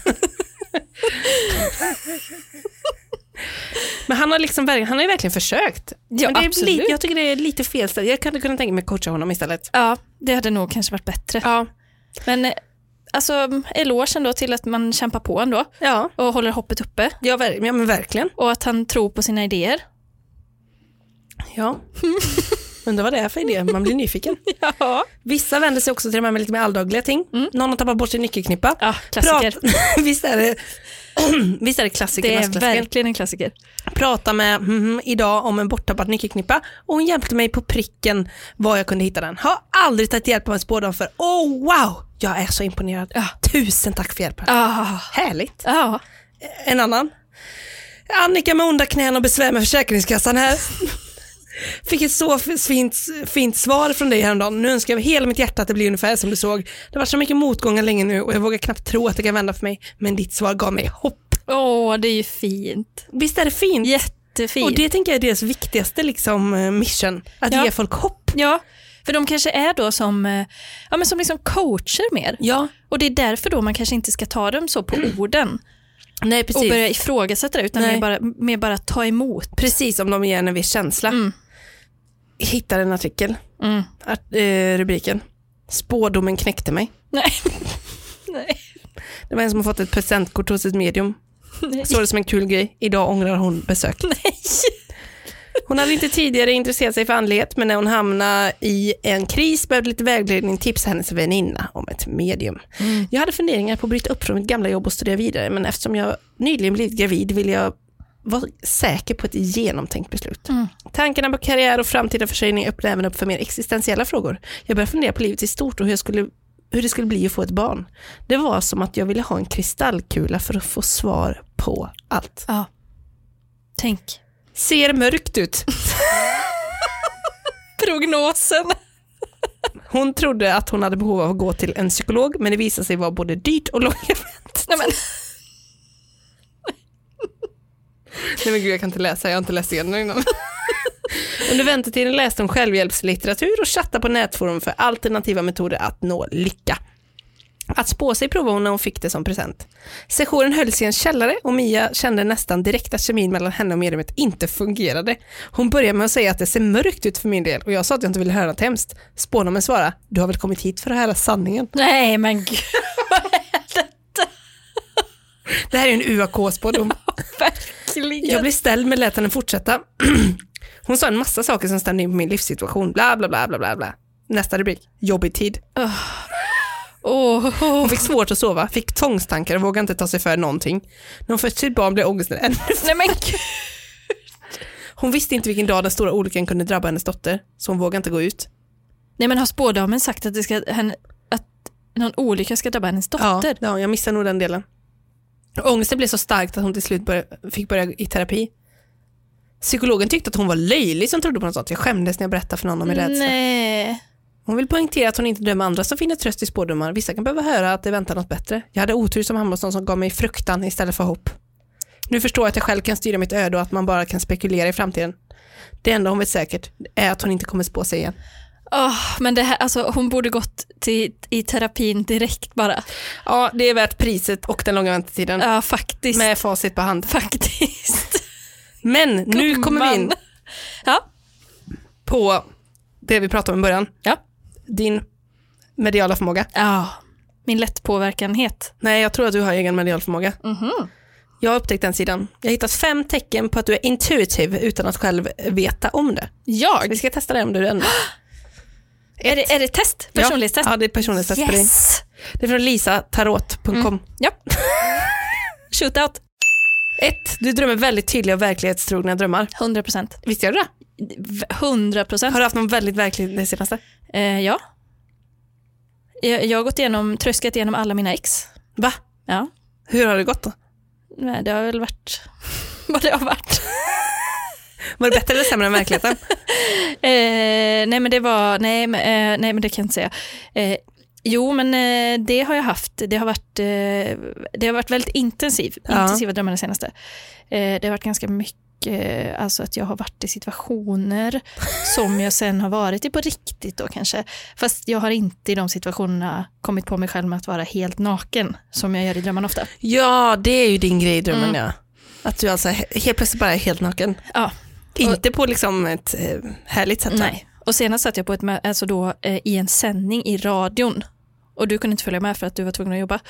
Speaker 2: Men han har, liksom, verk- han har ju verkligen försökt.
Speaker 1: Ja,
Speaker 2: Men det är
Speaker 1: absolut.
Speaker 2: li- jag tycker det är lite fel ställe. Jag hade kunnat tänka mig att coacha honom istället.
Speaker 1: Ja, det hade nog kanske varit bättre.
Speaker 2: Ja.
Speaker 1: Men eh, alltså, elogen då till att man kämpar på ändå
Speaker 2: Ja,
Speaker 1: och håller hoppet uppe
Speaker 2: ja, ver- ja men verkligen.
Speaker 1: och att han tror på sina idéer.
Speaker 2: Ja. Undrar vad det är för idé, man blir nyfiken.
Speaker 1: Ja,
Speaker 2: Vissa vänder sig också till de här med lite mer alldagliga ting. Någon har tappat bort sin nyckelknippa.
Speaker 1: Mm. ja klassiker.
Speaker 2: Prat- visst, är det, visst är det klassiker?
Speaker 1: Det är
Speaker 2: klassiker.
Speaker 1: verkligen en klassiker.
Speaker 2: Prata med mhm, idag om en borttappad nyckelknippa och hon hjälpte mig på pricken var jag kunde hitta den. Har aldrig tagit hjälp av en spådam för. Oh wow! Jag är så imponerad. Tusen tack för hjälpen.
Speaker 1: Ja,
Speaker 2: Härligt.
Speaker 1: ja.
Speaker 2: En annan. Annika med onda knän och besvär med Försäkringskassan här. Fick ett så fint, fint svar från dig häromdagen. Nu önskar jag av hela mitt hjärta att det blir ungefär som du såg. Det har varit så mycket motgångar länge nu och jag vågar knappt tro att det kan vända för mig. Men ditt svar gav mig hopp.
Speaker 1: Åh, det är ju fint.
Speaker 2: Visst är det fint?
Speaker 1: Jättefint.
Speaker 2: Och det tänker jag är deras viktigaste liksom, eh, mission, att
Speaker 1: Ja.
Speaker 2: ge folk hopp.
Speaker 1: Ja, för de kanske är då som, eh, ja, men som liksom coacher mer.
Speaker 2: Ja,
Speaker 1: Och det är därför då man kanske inte ska ta dem så på orden
Speaker 2: nej
Speaker 1: och
Speaker 2: precis.
Speaker 1: börja ifrågasätta det utan
Speaker 2: Nej.
Speaker 1: mer bara, mer bara ta emot.
Speaker 2: Precis som de ger en viss känsla.
Speaker 1: Mm.
Speaker 2: Hittade en artikel,
Speaker 1: Mm.
Speaker 2: art, eh, rubriken. Spådomen knäckte mig.
Speaker 1: Nej. Nej.
Speaker 2: Det var en som har fått ett presentkort hos ett medium.
Speaker 1: Nej.
Speaker 2: Står det som en kul grej. Idag ångrar hon besök. Hon hade inte tidigare intresserat sig för andlighet, men när hon hamnade i en kris behövde lite vägledning tipsa hennes väninna om ett medium. Jag hade funderingar på att bryta upp från mitt gamla jobb och studera vidare, men eftersom jag nyligen blivit gravid vill jag vara säker på ett genomtänkt beslut. Tankarna på karriär och framtida försörjning öppnar även upp för mer existentiella frågor. Jag började fundera på livet i stort och hur, jag skulle, hur det skulle bli att få ett barn. Det var som att jag ville ha en kristallkula för att få svar på allt
Speaker 1: Ja. Tänk.
Speaker 2: ser mörkt ut.
Speaker 1: Prognosen.
Speaker 2: Hon trodde att hon hade behov av att gå till en psykolog men det visade sig vara både dyrt och långa väntetider.
Speaker 1: Nej, men,
Speaker 2: Nej men gud jag kan inte läsa, jag har inte läst igenom innan. Under väntetiden läste hon självhjälpslitteratur och chattade på nätforum för alternativa metoder att nå lycka. Att plastpåse provade hon när hon fick det som present. Sessionen hölls i en källare och Mia kände nästan direkt att kemin mellan henne och mediumet inte fungerade. Hon började med att säga att det ser mörkt ut för min del och jag sa att jag inte ville höra något hemskt. Spånarmen svarade, du har väl kommit hit för att höra sanningen.
Speaker 1: Nej men gud,
Speaker 2: Det här är en UAK-spådom.
Speaker 1: verkligen.
Speaker 2: Jag blev ställd men lät henne fortsätta. Hon sa en massa saker som stämde in på min livssituation. Bla, bla, bla, bla, bla, bla. Nästa rubrik, jobbig tid.
Speaker 1: Åh, åh, åh.
Speaker 2: Hon fick svårt att sova, fick tvångstankar och vågade inte ta sig för någonting. När hon födde sitt barn blev ångesten ännu
Speaker 1: Nej men gud.
Speaker 2: Hon visste inte vilken dag den stora olyckan kunde drabba hennes dotter, så hon vågade inte gå ut.
Speaker 1: Nej men har spådamen sagt att, det ska, henne, att någon olycka ska drabba hennes dotter?
Speaker 2: Ja, jag missade nog den delen. Ångesten blev så starkt att hon till slut börja- fick börja i terapi. Psykologen tyckte att hon var löjlig som trodde på något sånt. Jag skämdes när jag berättade för någon om min rädsla.
Speaker 1: Nej.
Speaker 2: Hon vill poängtera att hon inte dömer andra som finner tröst i spådomar. Vissa kan behöva höra att det väntar något bättre. Jag hade otur som hamnade hos någon som gav mig fruktan istället för hopp. Nu förstår jag att jag själv kan styra mitt öde och att man bara kan spekulera i framtiden. Det enda hon vet säkert är att hon inte kommer spå sig igen.
Speaker 1: Åh, men det här, alltså, hon borde gått till, i terapin direkt bara.
Speaker 2: Ja, det är värt priset och den långa väntetiden.
Speaker 1: Ja, faktiskt.
Speaker 2: Med facit på hand.
Speaker 1: Faktiskt.
Speaker 2: Men nu kommer vi in
Speaker 1: Gumman. Ja.
Speaker 2: på det vi pratade om i början.
Speaker 1: Ja.
Speaker 2: Din mediala förmåga.
Speaker 1: ja. Min lättpåverkanhet.
Speaker 2: Nej, jag tror att du har egen medial förmåga. Jag har upptäckt den sidan. Jag har hittat fem tecken på att du är intuitiv utan att själv veta om det.
Speaker 1: Jag?
Speaker 2: Vi ska testa det om du är ändå.
Speaker 1: Är det, är det test? Personlighetstest?
Speaker 2: Ja, ja det är personlighetstest på dig.
Speaker 1: yes!
Speaker 2: Det är från lisatarot.com.
Speaker 1: Ja. Shootout.
Speaker 2: 1. Du drömmer väldigt tydliga och verklighetstrogna drömmar.
Speaker 1: 100 procent.
Speaker 2: Visst gör du det?
Speaker 1: 100 procent.
Speaker 2: Har du haft någon väldigt verklig det senaste?
Speaker 1: Eh, ja. Jag, jag har gått igenom, tröskat igenom alla mina ex.
Speaker 2: Va?
Speaker 1: Ja.
Speaker 2: Hur har det gått då?
Speaker 1: Nej, det har väl varit vad det har varit.
Speaker 2: Var det bättre eller sämre än verkligheten?
Speaker 1: Eh, nej men det var, nej, men, eh, nej men det kan jag inte säga. Eh, jo men eh, det har jag haft, det har varit, eh, det har varit väldigt intensiv,
Speaker 2: Ja.
Speaker 1: intensiva drömmar det senaste. Eh, det har varit ganska mycket, eh, alltså att jag har varit i situationer som jag sen har varit i på riktigt då kanske. Fast jag har inte i de situationerna kommit på mig själv med att vara helt naken som jag gör i drömmarna ofta.
Speaker 2: Ja, det är ju din grej i drömmen ja. Mm. Att du alltså he- helt plötsligt bara är helt naken.
Speaker 1: Ja,
Speaker 2: Inte på liksom ett eh, härligt sätt. va?
Speaker 1: Nej, och senast satt jag på ett mö- alltså då, eh, i en sändning i radion och du kunde inte följa med för att du var tvungen att jobba.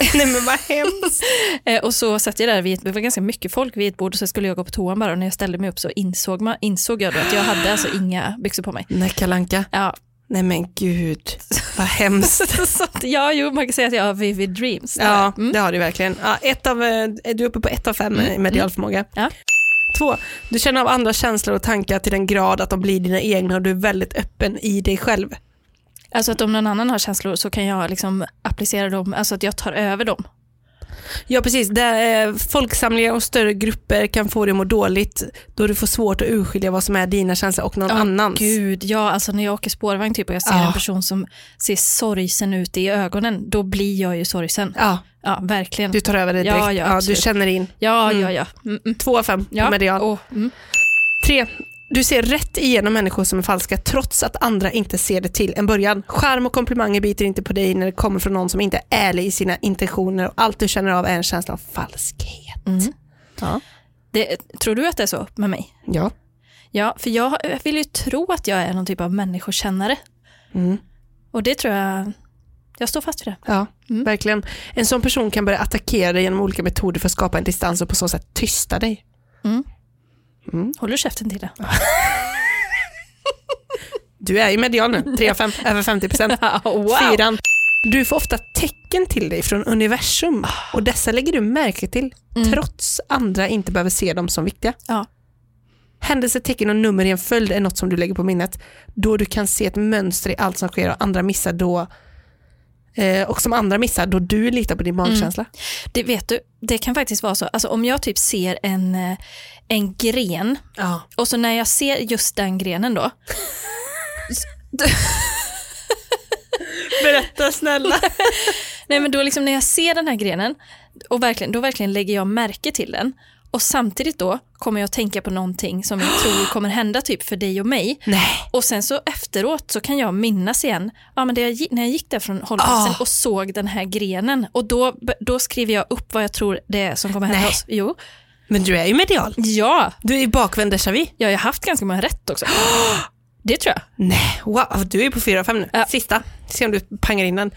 Speaker 2: Nej men vad hemskt.
Speaker 1: Eh, och så satt jag där, vid, ett- det var ganska mycket folk vid ett bord och så skulle jag gå på toan bara och när jag ställde mig upp så insåg, man, insåg jag då att jag hade alltså inga byxor på mig.
Speaker 2: Nej kalanka.
Speaker 1: Ja,
Speaker 2: Nej men gud, vad hemskt.
Speaker 1: så att, ja jo, man kan säga att jag har vivid dreams.
Speaker 2: Ja,
Speaker 1: Mm.
Speaker 2: det har du verkligen. Ja, ett av, eh, är du uppe på ett av fem eh, medial förmåga.
Speaker 1: Ja.
Speaker 2: Två, du känner av andra känslor och tankar till den grad att de blir dina egna och du är väldigt öppen i dig själv.
Speaker 1: Alltså att om någon annan har känslor så kan jag liksom applicera dem, alltså att jag tar över dem.
Speaker 2: Ja precis, där, eh, folksamlingar och större grupper kan få dig att må dåligt då du får svårt att urskilja vad som är dina känslor och någon
Speaker 1: Ja,
Speaker 2: annans.
Speaker 1: Gud, ja, alltså när jag åker spårvagn typ och jag ser
Speaker 2: Ja.
Speaker 1: en person som ser sorgsen ut i ögonen, då blir jag ju sorgsen.
Speaker 2: Ja,
Speaker 1: Ja, verkligen.
Speaker 2: du tar över det
Speaker 1: Ja,
Speaker 2: direkt.
Speaker 1: ja,
Speaker 2: du
Speaker 1: absolut.
Speaker 2: känner in.
Speaker 1: Ja,
Speaker 2: Mm.
Speaker 1: ja, ja. Mm, mm.
Speaker 2: Två av fem
Speaker 1: ja.
Speaker 2: på medial.
Speaker 1: Åh, mm.
Speaker 2: Tre, Du ser rätt igenom människor som är falska trots att andra inte ser det till en början. Charm och komplimanger biter inte på dig när det kommer från någon som inte är ärlig i sina intentioner och allt du känner av är en känsla av falskhet.
Speaker 1: Mm.
Speaker 2: Ja.
Speaker 1: Det, tror du att det är så med mig?
Speaker 2: ja.
Speaker 1: Ja, för jag, jag vill ju tro att jag är någon typ av människokännare.
Speaker 2: Mm.
Speaker 1: Och det tror jag, jag står fast vid det.
Speaker 2: Ja,
Speaker 1: Mm.
Speaker 2: verkligen. En sån person kan börja attackera dig genom olika metoder för att skapa en distans och på så sätt tysta dig.
Speaker 1: Håller du käften till det?
Speaker 2: Du är ju medial nu, 3 av 5, över 50 procent. Fyran. Du får ofta tecken till dig från universum och dessa lägger du märke till
Speaker 1: Mm.
Speaker 2: trots andra inte behöver se dem som viktiga.
Speaker 1: Ja.
Speaker 2: Händelser, tecken och nummer i en följd är något som du lägger på minnet då du kan se ett mönster i allt som sker och andra missar då eh, och som andra missar då du litar på din magkänsla.
Speaker 1: Det vet du, det kan faktiskt vara så. Alltså om jag typ ser en, eh, en gren
Speaker 2: Ja.
Speaker 1: och så när jag ser just den grenen då,
Speaker 2: Berätta snälla.
Speaker 1: Nej men då liksom när jag ser den här grenen och verkligen, då verkligen lägger jag märke till den Och samtidigt då kommer jag att tänka på någonting som jag tror kommer hända typ för dig och mig.
Speaker 2: Nej.
Speaker 1: Och sen så efteråt så kan jag minnas igen, ja men det jag, gi- när jag gick där från hållplatsen
Speaker 2: Ah.
Speaker 1: och såg den här grenen och då, då skriver jag upp vad jag tror det är som kommer hända
Speaker 2: Nej.
Speaker 1: oss. Jo.
Speaker 2: Men du är ju medial.
Speaker 1: Ja,
Speaker 2: Du är bakvänd déjà vu.
Speaker 1: jag har haft ganska många rätt också. Det tror jag.
Speaker 2: Nej, wow. Du är på fyra av fem nu.
Speaker 1: Ja.
Speaker 2: Sista. Se om du pangar in den.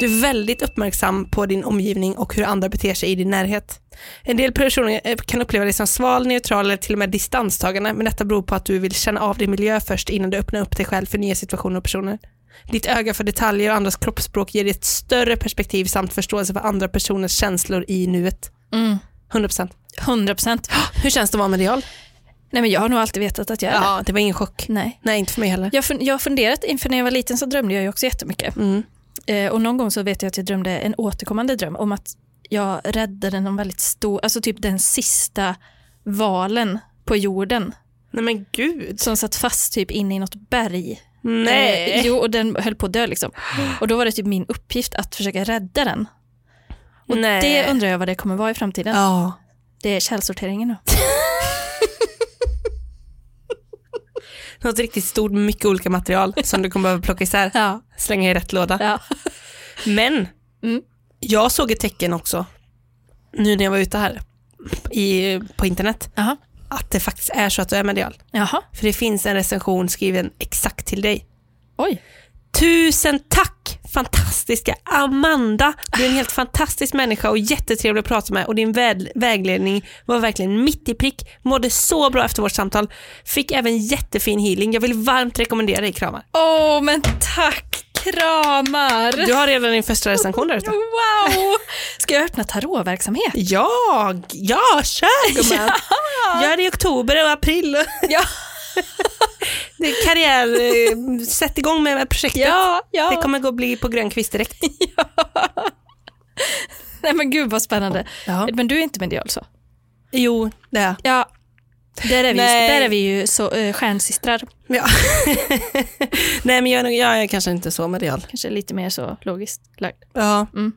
Speaker 2: Du är väldigt uppmärksam på din omgivning och hur andra beter sig i din närhet. En del personer eh, kan uppleva dig som sval, neutral eller till och med distanstagande, men detta beror på att du vill känna av din miljö först innan du öppnar upp dig själv för nya situationer och personer. Ditt öga för detaljer och andras kroppsspråk ger dig ett större perspektiv samt förståelse för andra personers känslor i nuet.
Speaker 1: Mm.
Speaker 2: 100%.
Speaker 1: 100 procent.
Speaker 2: Ah, Hur känns det att vara medial?
Speaker 1: Nej men jag har nog alltid vetat att jag är det.
Speaker 2: Ja, det var ingen chock.
Speaker 1: Nej.
Speaker 2: Nej, inte för mig heller.
Speaker 1: Jag fun- jag har funderat, inför när jag var liten så drömde jag ju också jättemycket.
Speaker 2: Mm.
Speaker 1: Eh, och någon gång så vet jag att jag drömde en återkommande dröm om att jag räddade någon väldigt stor, alltså typ den sista valen på jorden
Speaker 2: Nej men gud.
Speaker 1: som satt fast typ inne i något berg.
Speaker 2: Nej.
Speaker 1: Eh, jo, och den höll på att dö liksom. Och då var det typ min uppgift att försöka rädda den.
Speaker 2: Och Nej.
Speaker 1: Det undrar jag vad det kommer vara i framtiden.
Speaker 2: Eh. Ja.
Speaker 1: Det är källsorteringen nu.
Speaker 2: Något riktigt stort, mycket olika material som du kommer behöva plocka isär.
Speaker 1: Ja.
Speaker 2: Slänga i rätt låda.
Speaker 1: ja.
Speaker 2: Men
Speaker 1: Mm.
Speaker 2: jag såg ett tecken också, nu när jag var ute här i, på internet,
Speaker 1: Jaha.
Speaker 2: att det faktiskt är så att du är medial.
Speaker 1: Jaha.
Speaker 2: För det finns en recension skriven exakt till dig.
Speaker 1: Oj.
Speaker 2: Tusen tack fantastiska Amanda! Du är en helt fantastisk människa och jättetrevlig att prata med och din väl- vägledning var verkligen mitt i prick. Mådde så bra efter vårt samtal. Fick även jättefin healing. Jag vill varmt rekommendera dig kramar.
Speaker 1: Åh, men tack! Kramar!
Speaker 2: Du har redan din första recension där ute.
Speaker 1: Wow! Ska jag öppna tarotverksamhet?
Speaker 2: Ja, g- ja, kör gumman! Gör det i oktober och april.
Speaker 1: Ja,
Speaker 2: Det är karriär, eh, sätt igång med det här projektet.
Speaker 1: ja, ja.
Speaker 2: Det kommer gå att bli på grön kvist direkt.
Speaker 1: Nej men gud vad spännande.
Speaker 2: Ja.
Speaker 1: Men du är inte medial så?
Speaker 2: Jo, det är jag.
Speaker 1: Ja. Där är vi,
Speaker 2: Nej.
Speaker 1: där är vi ju så, eh, stjärnsystrar,
Speaker 2: Ja. Nej men jag är, nog- jag är kanske inte så medial.
Speaker 1: kanske lite mer så logiskt lagd.
Speaker 2: Ja.
Speaker 1: Mm.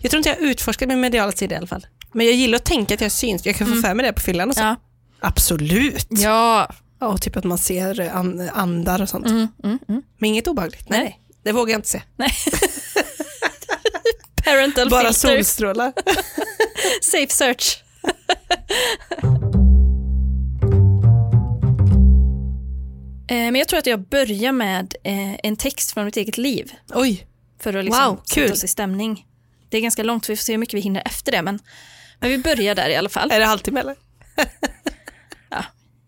Speaker 2: Jag tror inte jag har utforskat min mediala sida i alla fall. Men jag gillar att tänka att jag syns. Jag kan få för mig det på fyllan och så.
Speaker 1: Ja.
Speaker 2: Absolut.
Speaker 1: Ja.
Speaker 2: Ja, och typ att man ser eh, an- andar och sånt.
Speaker 1: Mm, mm, mm.
Speaker 2: Men inget obehagligt. Nej.
Speaker 1: Nej.
Speaker 2: det vågar jag inte se.
Speaker 1: Parental
Speaker 2: Bara
Speaker 1: filter,
Speaker 2: solstrålar.
Speaker 1: safe search. Eh, Men jag tror att jag börjar med eh, en text från mitt eget liv
Speaker 2: Oj.
Speaker 1: för att liksom
Speaker 2: Wow, kul.
Speaker 1: sätta oss i stämning. Det är ganska långt, vi får se hur mycket vi hinner efter det, men, men vi börjar där i alla fall.
Speaker 2: Är det halvtimme eller?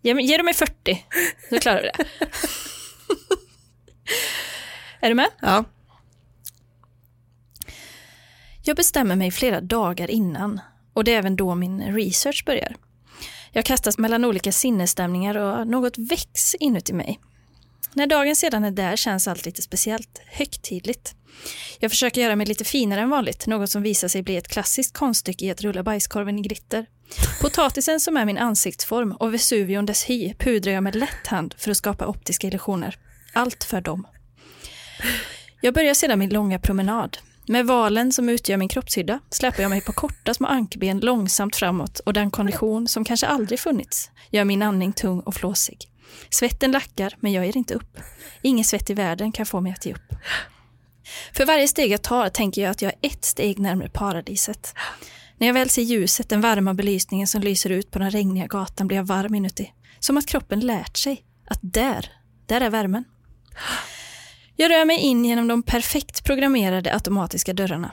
Speaker 1: Ge, mig- ge du mig 40 så klarar vi det. är du med?
Speaker 2: Ja.
Speaker 1: Jag bestämmer mig flera dagar innan och det är även då min research börjar. Jag kastas mellan olika sinnesstämningar och något väcks inuti mig. När dagen sedan är där känns allt lite speciellt, högtidligt. Jag försöker göra mig lite finare än vanligt, något som visar sig bli ett klassiskt konststycke i att rulla bajskorven i gritter. Potatisen som är min ansiktsform och Vesuvion dess hy pudrar jag med lätt hand för att skapa optiska illusioner. Allt för dem. Jag börjar sedan min långa promenad. Med valen som utgör min kroppshydda släpar jag mig på korta små ankben långsamt framåt och den kondition som kanske aldrig funnits gör min andning tung och flåsig. Svetten lackar, men jag ger inte upp. Ingen svett i världen kan få mig att ge upp. För varje steg jag tar tänker jag att jag är ett steg närmare paradiset. När jag väl ser ljuset, den varma belysningen som lyser ut på den regniga gatan blir jag varm inuti. Som att kroppen lärt sig att där, där är värmen. Jag rör mig in genom de perfekt programmerade automatiska dörrarna.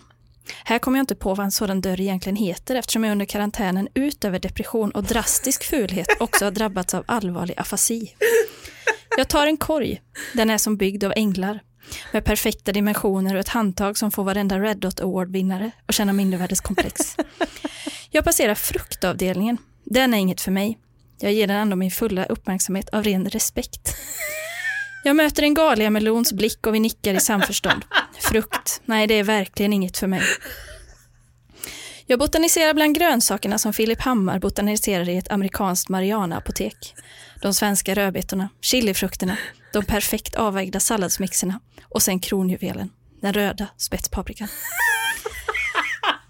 Speaker 1: Här kommer jag inte på vad en sådan dörr egentligen heter eftersom jag under karantänen utöver depression och drastisk fulhet också har drabbats av allvarlig afasi. Jag tar en korg. Den är som byggd av änglar. Med perfekta dimensioner och ett handtag som får varenda Red Dot Award-vinnare att känna mindervärdeskomplex. Jag passerar fruktavdelningen. Den är inget för mig. Jag ger den ändå min fulla uppmärksamhet av ren respekt. Jag möter en galiamelons blick och vi nickar i samförstånd. Frukt, nej det är verkligen inget för mig. Jag botaniserar bland grönsakerna som Filip Hammar botaniserar i ett amerikanskt Mariana-apotek. De svenska rödbetorna, chilifrukterna, de perfekt avvägda salladsmixerna och sen kronjuvelen, den röda spetspaprikan.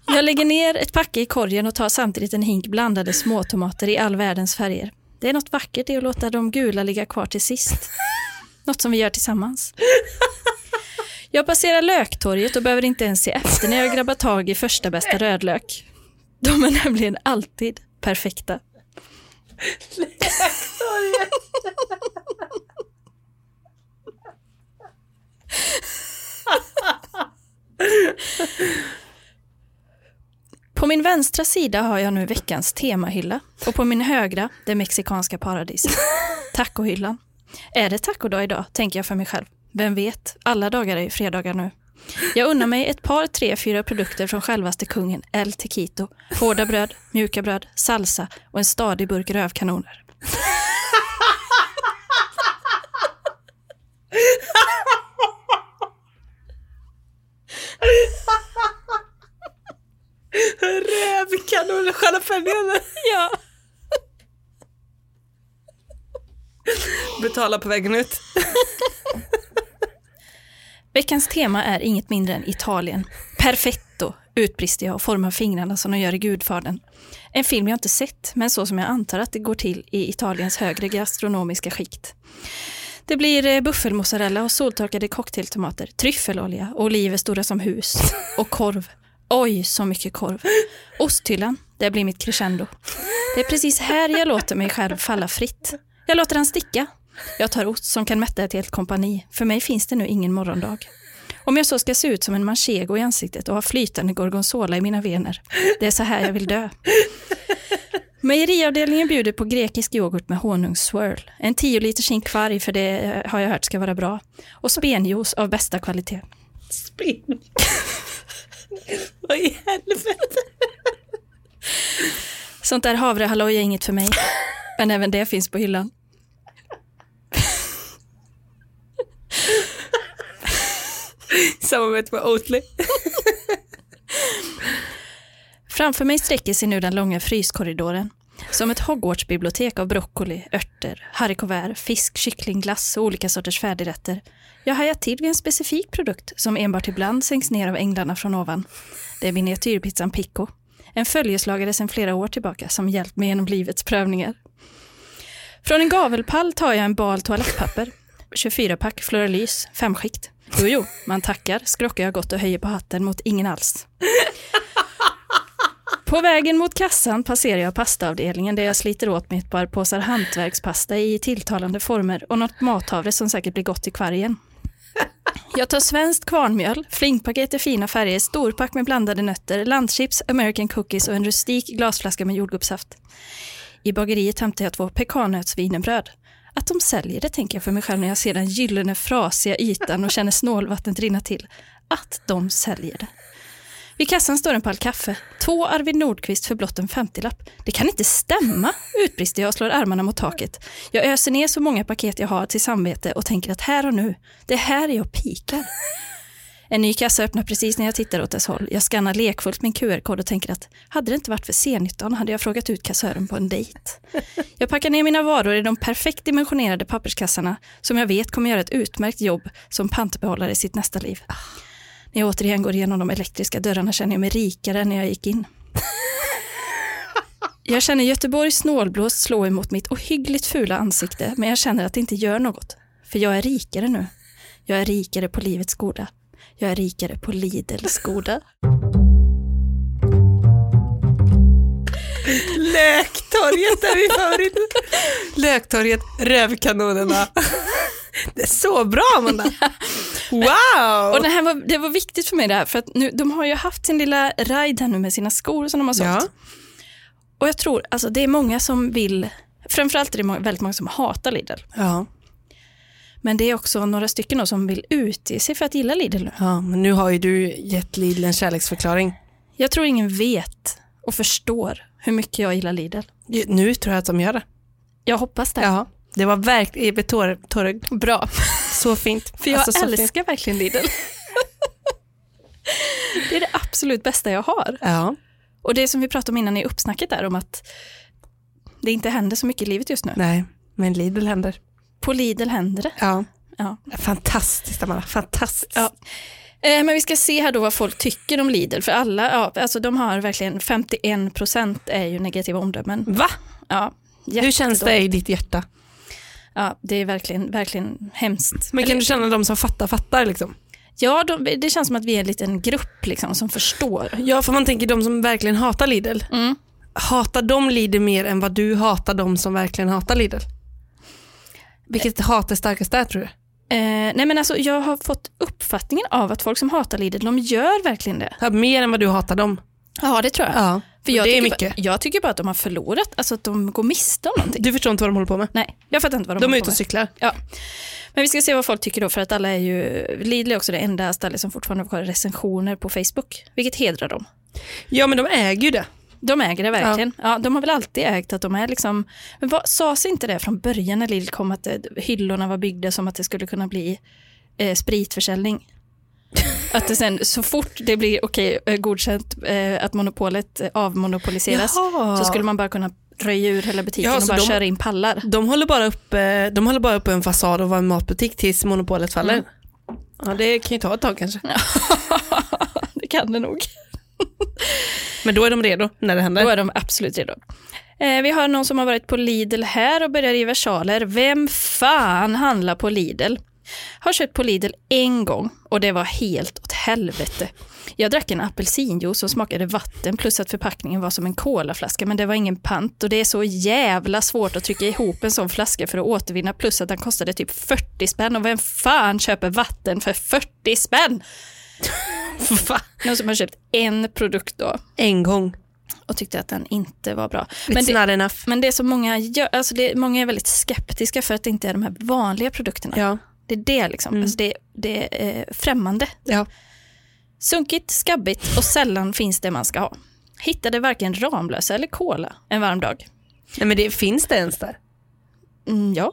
Speaker 1: Jag lägger ner ett packe i korgen och tar samtidigt en hink blandade småtomater i all världens färger. Det är något vackert i att låta de gula ligga kvar till sist. Något som vi gör tillsammans. Jag passerar löktorget och behöver inte ens se efter när jag grabbar tag i första bästa rödlök. De är nämligen alltid perfekta. På min vänstra sida har jag nu veckans temahylla och på min högra det mexikanska paradiset. Tacohyllan. Är det tacodag idag, tänker jag för mig själv. Vem vet, alla dagar är ju fredagar nu. Jag unnar mig ett par, tre, fyra produkter från självaste kungen El Tequito. Hårda bröd, mjuka bröd, salsa och en stadig burk rövkanoner.
Speaker 2: Rävkanon och jalapeño.
Speaker 1: Ja.
Speaker 2: Betala på vägen ut.
Speaker 1: Veckans tema är inget mindre än Italien. Perfetto, utbrister jag och formar fingrarna som de gör i Gudfadern. En film jag inte sett, men så som jag antar att det går till i Italiens högre gastronomiska skikt. Det blir eh, buffelmozzarella och soltorkade cocktailtomater, tryffelolja, oliver stora som hus och korv. Oj, så mycket korv. Osthyllan, det blir mitt crescendo. Det är precis här jag låter mig själv falla fritt. Jag låter han sticka. Jag tar ost som kan mätta ett helt kompani. För mig finns det nu ingen morgondag. Om jag så ska se ut som en manchego i ansiktet och ha flytande gorgonzola i mina vener. Det är så här jag vill dö. Mejeriavdelningen bjuder på grekisk yoghurt med honungsswirl. En 10 liters hink kvarg, för det eh, har jag hört ska vara bra. Och spenjuice av bästa kvalitet.
Speaker 2: Spinn. Vad i helvete?
Speaker 1: Sånt där havrehalloj är inget för mig. Men även det finns på hyllan.
Speaker 2: Samarbete med Oatly.
Speaker 1: Framför mig sträcker sig nu den långa fryskorridoren. Som ett Hogwarts-bibliotek av broccoli, örter, haricots fisk, kyckling, glass och olika sorters färdigrätter. Jag hajar till vid en specifik produkt som enbart ibland sänks ner av änglarna från ovan. Det är miniatyrpizzan Pico. En följeslagare sedan flera år tillbaka som hjälpt mig genom livets prövningar. Från en gavelpall tar jag en bal toalettpapper, 24-pack Floralys, femskikt. Jo, jo, man tackar, skrockar jag gott och höjer på hatten mot ingen alls. På vägen mot kassan passerar jag pastaavdelningen där jag sliter åt mig ett par påsar hantverkspasta i tilltalande former och något mathavre som säkert blir gott i kvargen. Jag tar svenskt kvarnmjöl, flingpaket i fina färger, storpack med blandade nötter, landchips, American cookies och en rustik glasflaska med jordgubbssaft. I bageriet hämtar jag två pekannötsvinerbröd. Att de säljer det tänker jag för mig själv när jag ser den gyllene frasiga ytan och känner snålvattnet rinna till. Att de säljer det. Vid kassan står en pall kaffe. Två Arvid Nordqvist för blott en 50-lapp. Det kan inte stämma, utbrister jag och slår armarna mot taket. Jag öser ner så många paket jag har till samvete och tänker att här och nu, det är här jag pikar. En ny kassa öppnar precis när jag tittar åt dess håll. Jag skannar lekfullt min QR-kod och tänker att hade det inte varit för C19 hade jag frågat ut kassören på en dejt. Jag packar ner mina varor i de perfekt dimensionerade papperskassarna som jag vet kommer göra ett utmärkt jobb som pantbehållare i sitt nästa liv. När jag återigen går igenom de elektriska dörrarna känner jag mig rikare än när jag gick in. Jag känner Göteborgs snålblåst slå emot mitt ohyggligt fula ansikte, men jag känner att det inte gör något. För jag är rikare nu. Jag är rikare på livets goda. Jag är rikare på Lidls goda.
Speaker 2: Löktorget är min favorit. Löktorget, rövkanonerna. Det är så bra Amanda.
Speaker 1: Och
Speaker 2: Wow!
Speaker 1: det, här var, det var viktigt för mig det här, för att nu, de har ju haft sin lilla ride här nu med sina skor som de har sålt.
Speaker 2: Ja.
Speaker 1: Och jag tror, alltså det är många som vill, framförallt är det många, väldigt många som hatar Lidl.
Speaker 2: Ja.
Speaker 1: Men det är också några stycken då som vill utge sig för att gilla Lidl nu.
Speaker 2: ja, men nu har ju du gett Lidl en kärleksförklaring.
Speaker 1: Jag tror ingen vet och förstår hur mycket jag gillar Lidl.
Speaker 2: Ju- Nu tror jag att de gör det.
Speaker 1: Jag hoppas det.
Speaker 2: Ja. Det var verkligen tårögd.
Speaker 1: Bra,
Speaker 2: Så fint.
Speaker 1: för jag
Speaker 2: Alltså, så fint.
Speaker 1: älskar verkligen Lidl. det är det absolut bästa jag har.
Speaker 2: Ja.
Speaker 1: Och det som vi pratade om innan i uppsnacket där om att det inte händer så mycket i livet just nu.
Speaker 2: Nej, men Lidl händer.
Speaker 1: På Lidl händer det.
Speaker 2: Ja.
Speaker 1: Ja.
Speaker 2: Fantastiskt Amanda, fantastiskt.
Speaker 1: Ja. Eh, men vi ska se här då vad folk tycker om Lidl, för alla, ja, alltså de har verkligen 51 procent är ju negativa omdömen.
Speaker 2: Va?
Speaker 1: Ja,
Speaker 2: Hur känns det i ditt hjärta?
Speaker 1: Ja, det är verkligen, verkligen hemskt.
Speaker 2: Men kan
Speaker 1: Eller-
Speaker 2: du känna de som fattar fattar liksom?
Speaker 1: Ja, de, det känns som att vi är en liten grupp liksom, som förstår.
Speaker 2: Ja, för man tänker de som verkligen hatar Lidl.
Speaker 1: Mm.
Speaker 2: Hatar de Lidl mer än vad du hatar de som verkligen hatar Lidl? Vilket hat är starkast där tror du?
Speaker 1: Eh, nej men alltså, jag har fått uppfattningen av att folk som hatar Lidl, de gör verkligen det.
Speaker 2: Ja, Mer än vad du hatar dem?
Speaker 1: Ja, det tror jag.
Speaker 2: Ja,
Speaker 1: För jag
Speaker 2: det
Speaker 1: tycker
Speaker 2: är mycket.
Speaker 1: Bara, jag tycker bara att de har förlorat, alltså att de går miste om någonting.
Speaker 2: Du förstår inte vad de håller på med?
Speaker 1: Nej, jag fattar inte vad de,
Speaker 2: De är
Speaker 1: håller
Speaker 2: ute
Speaker 1: på
Speaker 2: och
Speaker 1: med.
Speaker 2: cyklar.
Speaker 1: Men vi ska se vad folk tycker då, för att alla är ju, Lidl är också det enda stället som fortfarande har recensioner på Facebook, vilket hedrar dem.
Speaker 2: Ja, men de äger ju det.
Speaker 1: De äger det verkligen. Ja. de har väl alltid ägt att de är liksom, men vad, sades inte det från början när Lidl kom att det, hyllorna var byggda som att det skulle kunna bli eh, spritförsäljning? Att det sen, så fort det blir okej, eh, godkänt eh, att monopolet eh, avmonopoliseras
Speaker 2: Jaha.
Speaker 1: så skulle man bara kunna röja ur hela butiken
Speaker 2: Ja,
Speaker 1: och
Speaker 2: så
Speaker 1: bara
Speaker 2: de-
Speaker 1: köra in pallar.
Speaker 2: De håller bara uppe, de håller bara uppe en fasad och var en matbutik tills monopolet faller.
Speaker 1: Mm.
Speaker 2: Ja, det kan ju ta ett tag kanske.
Speaker 1: Det kan det nog.
Speaker 2: Men då är de redo när det händer.
Speaker 1: Då är de absolut redo. Eh, vi har någon som har varit på Lidl här och börjar i versaler. Vem fan handlar på Lidl? Har köpt på Lidl en gång och det var helt åt helvete. Jag drack en apelsinjuice som smakade vatten plus att förpackningen var som en kolaflaska men det var ingen pant och det är så jävla svårt att trycka ihop en sån flaska för att återvinna plus att den kostade typ 40 spänn och vem fan köper vatten för 40 spänn?
Speaker 2: Va?
Speaker 1: Någon som har köpt en produkt då
Speaker 2: En gång.
Speaker 1: och tyckte att den inte var bra.
Speaker 2: It's
Speaker 1: Men det,
Speaker 2: not enough.
Speaker 1: men det som många gör, alltså det, många är väldigt skeptiska för att det inte är de här vanliga produkterna.
Speaker 2: Ja. Mm.
Speaker 1: Det är det liksom, alltså det, det är eh, främmande.
Speaker 2: ja.
Speaker 1: Sunkigt, skabbigt och sällan finns det man ska ha. Hittade varken Ramlösa eller Cola en varm dag.
Speaker 2: Nej, men det finns det ens där?
Speaker 1: Mm, ja.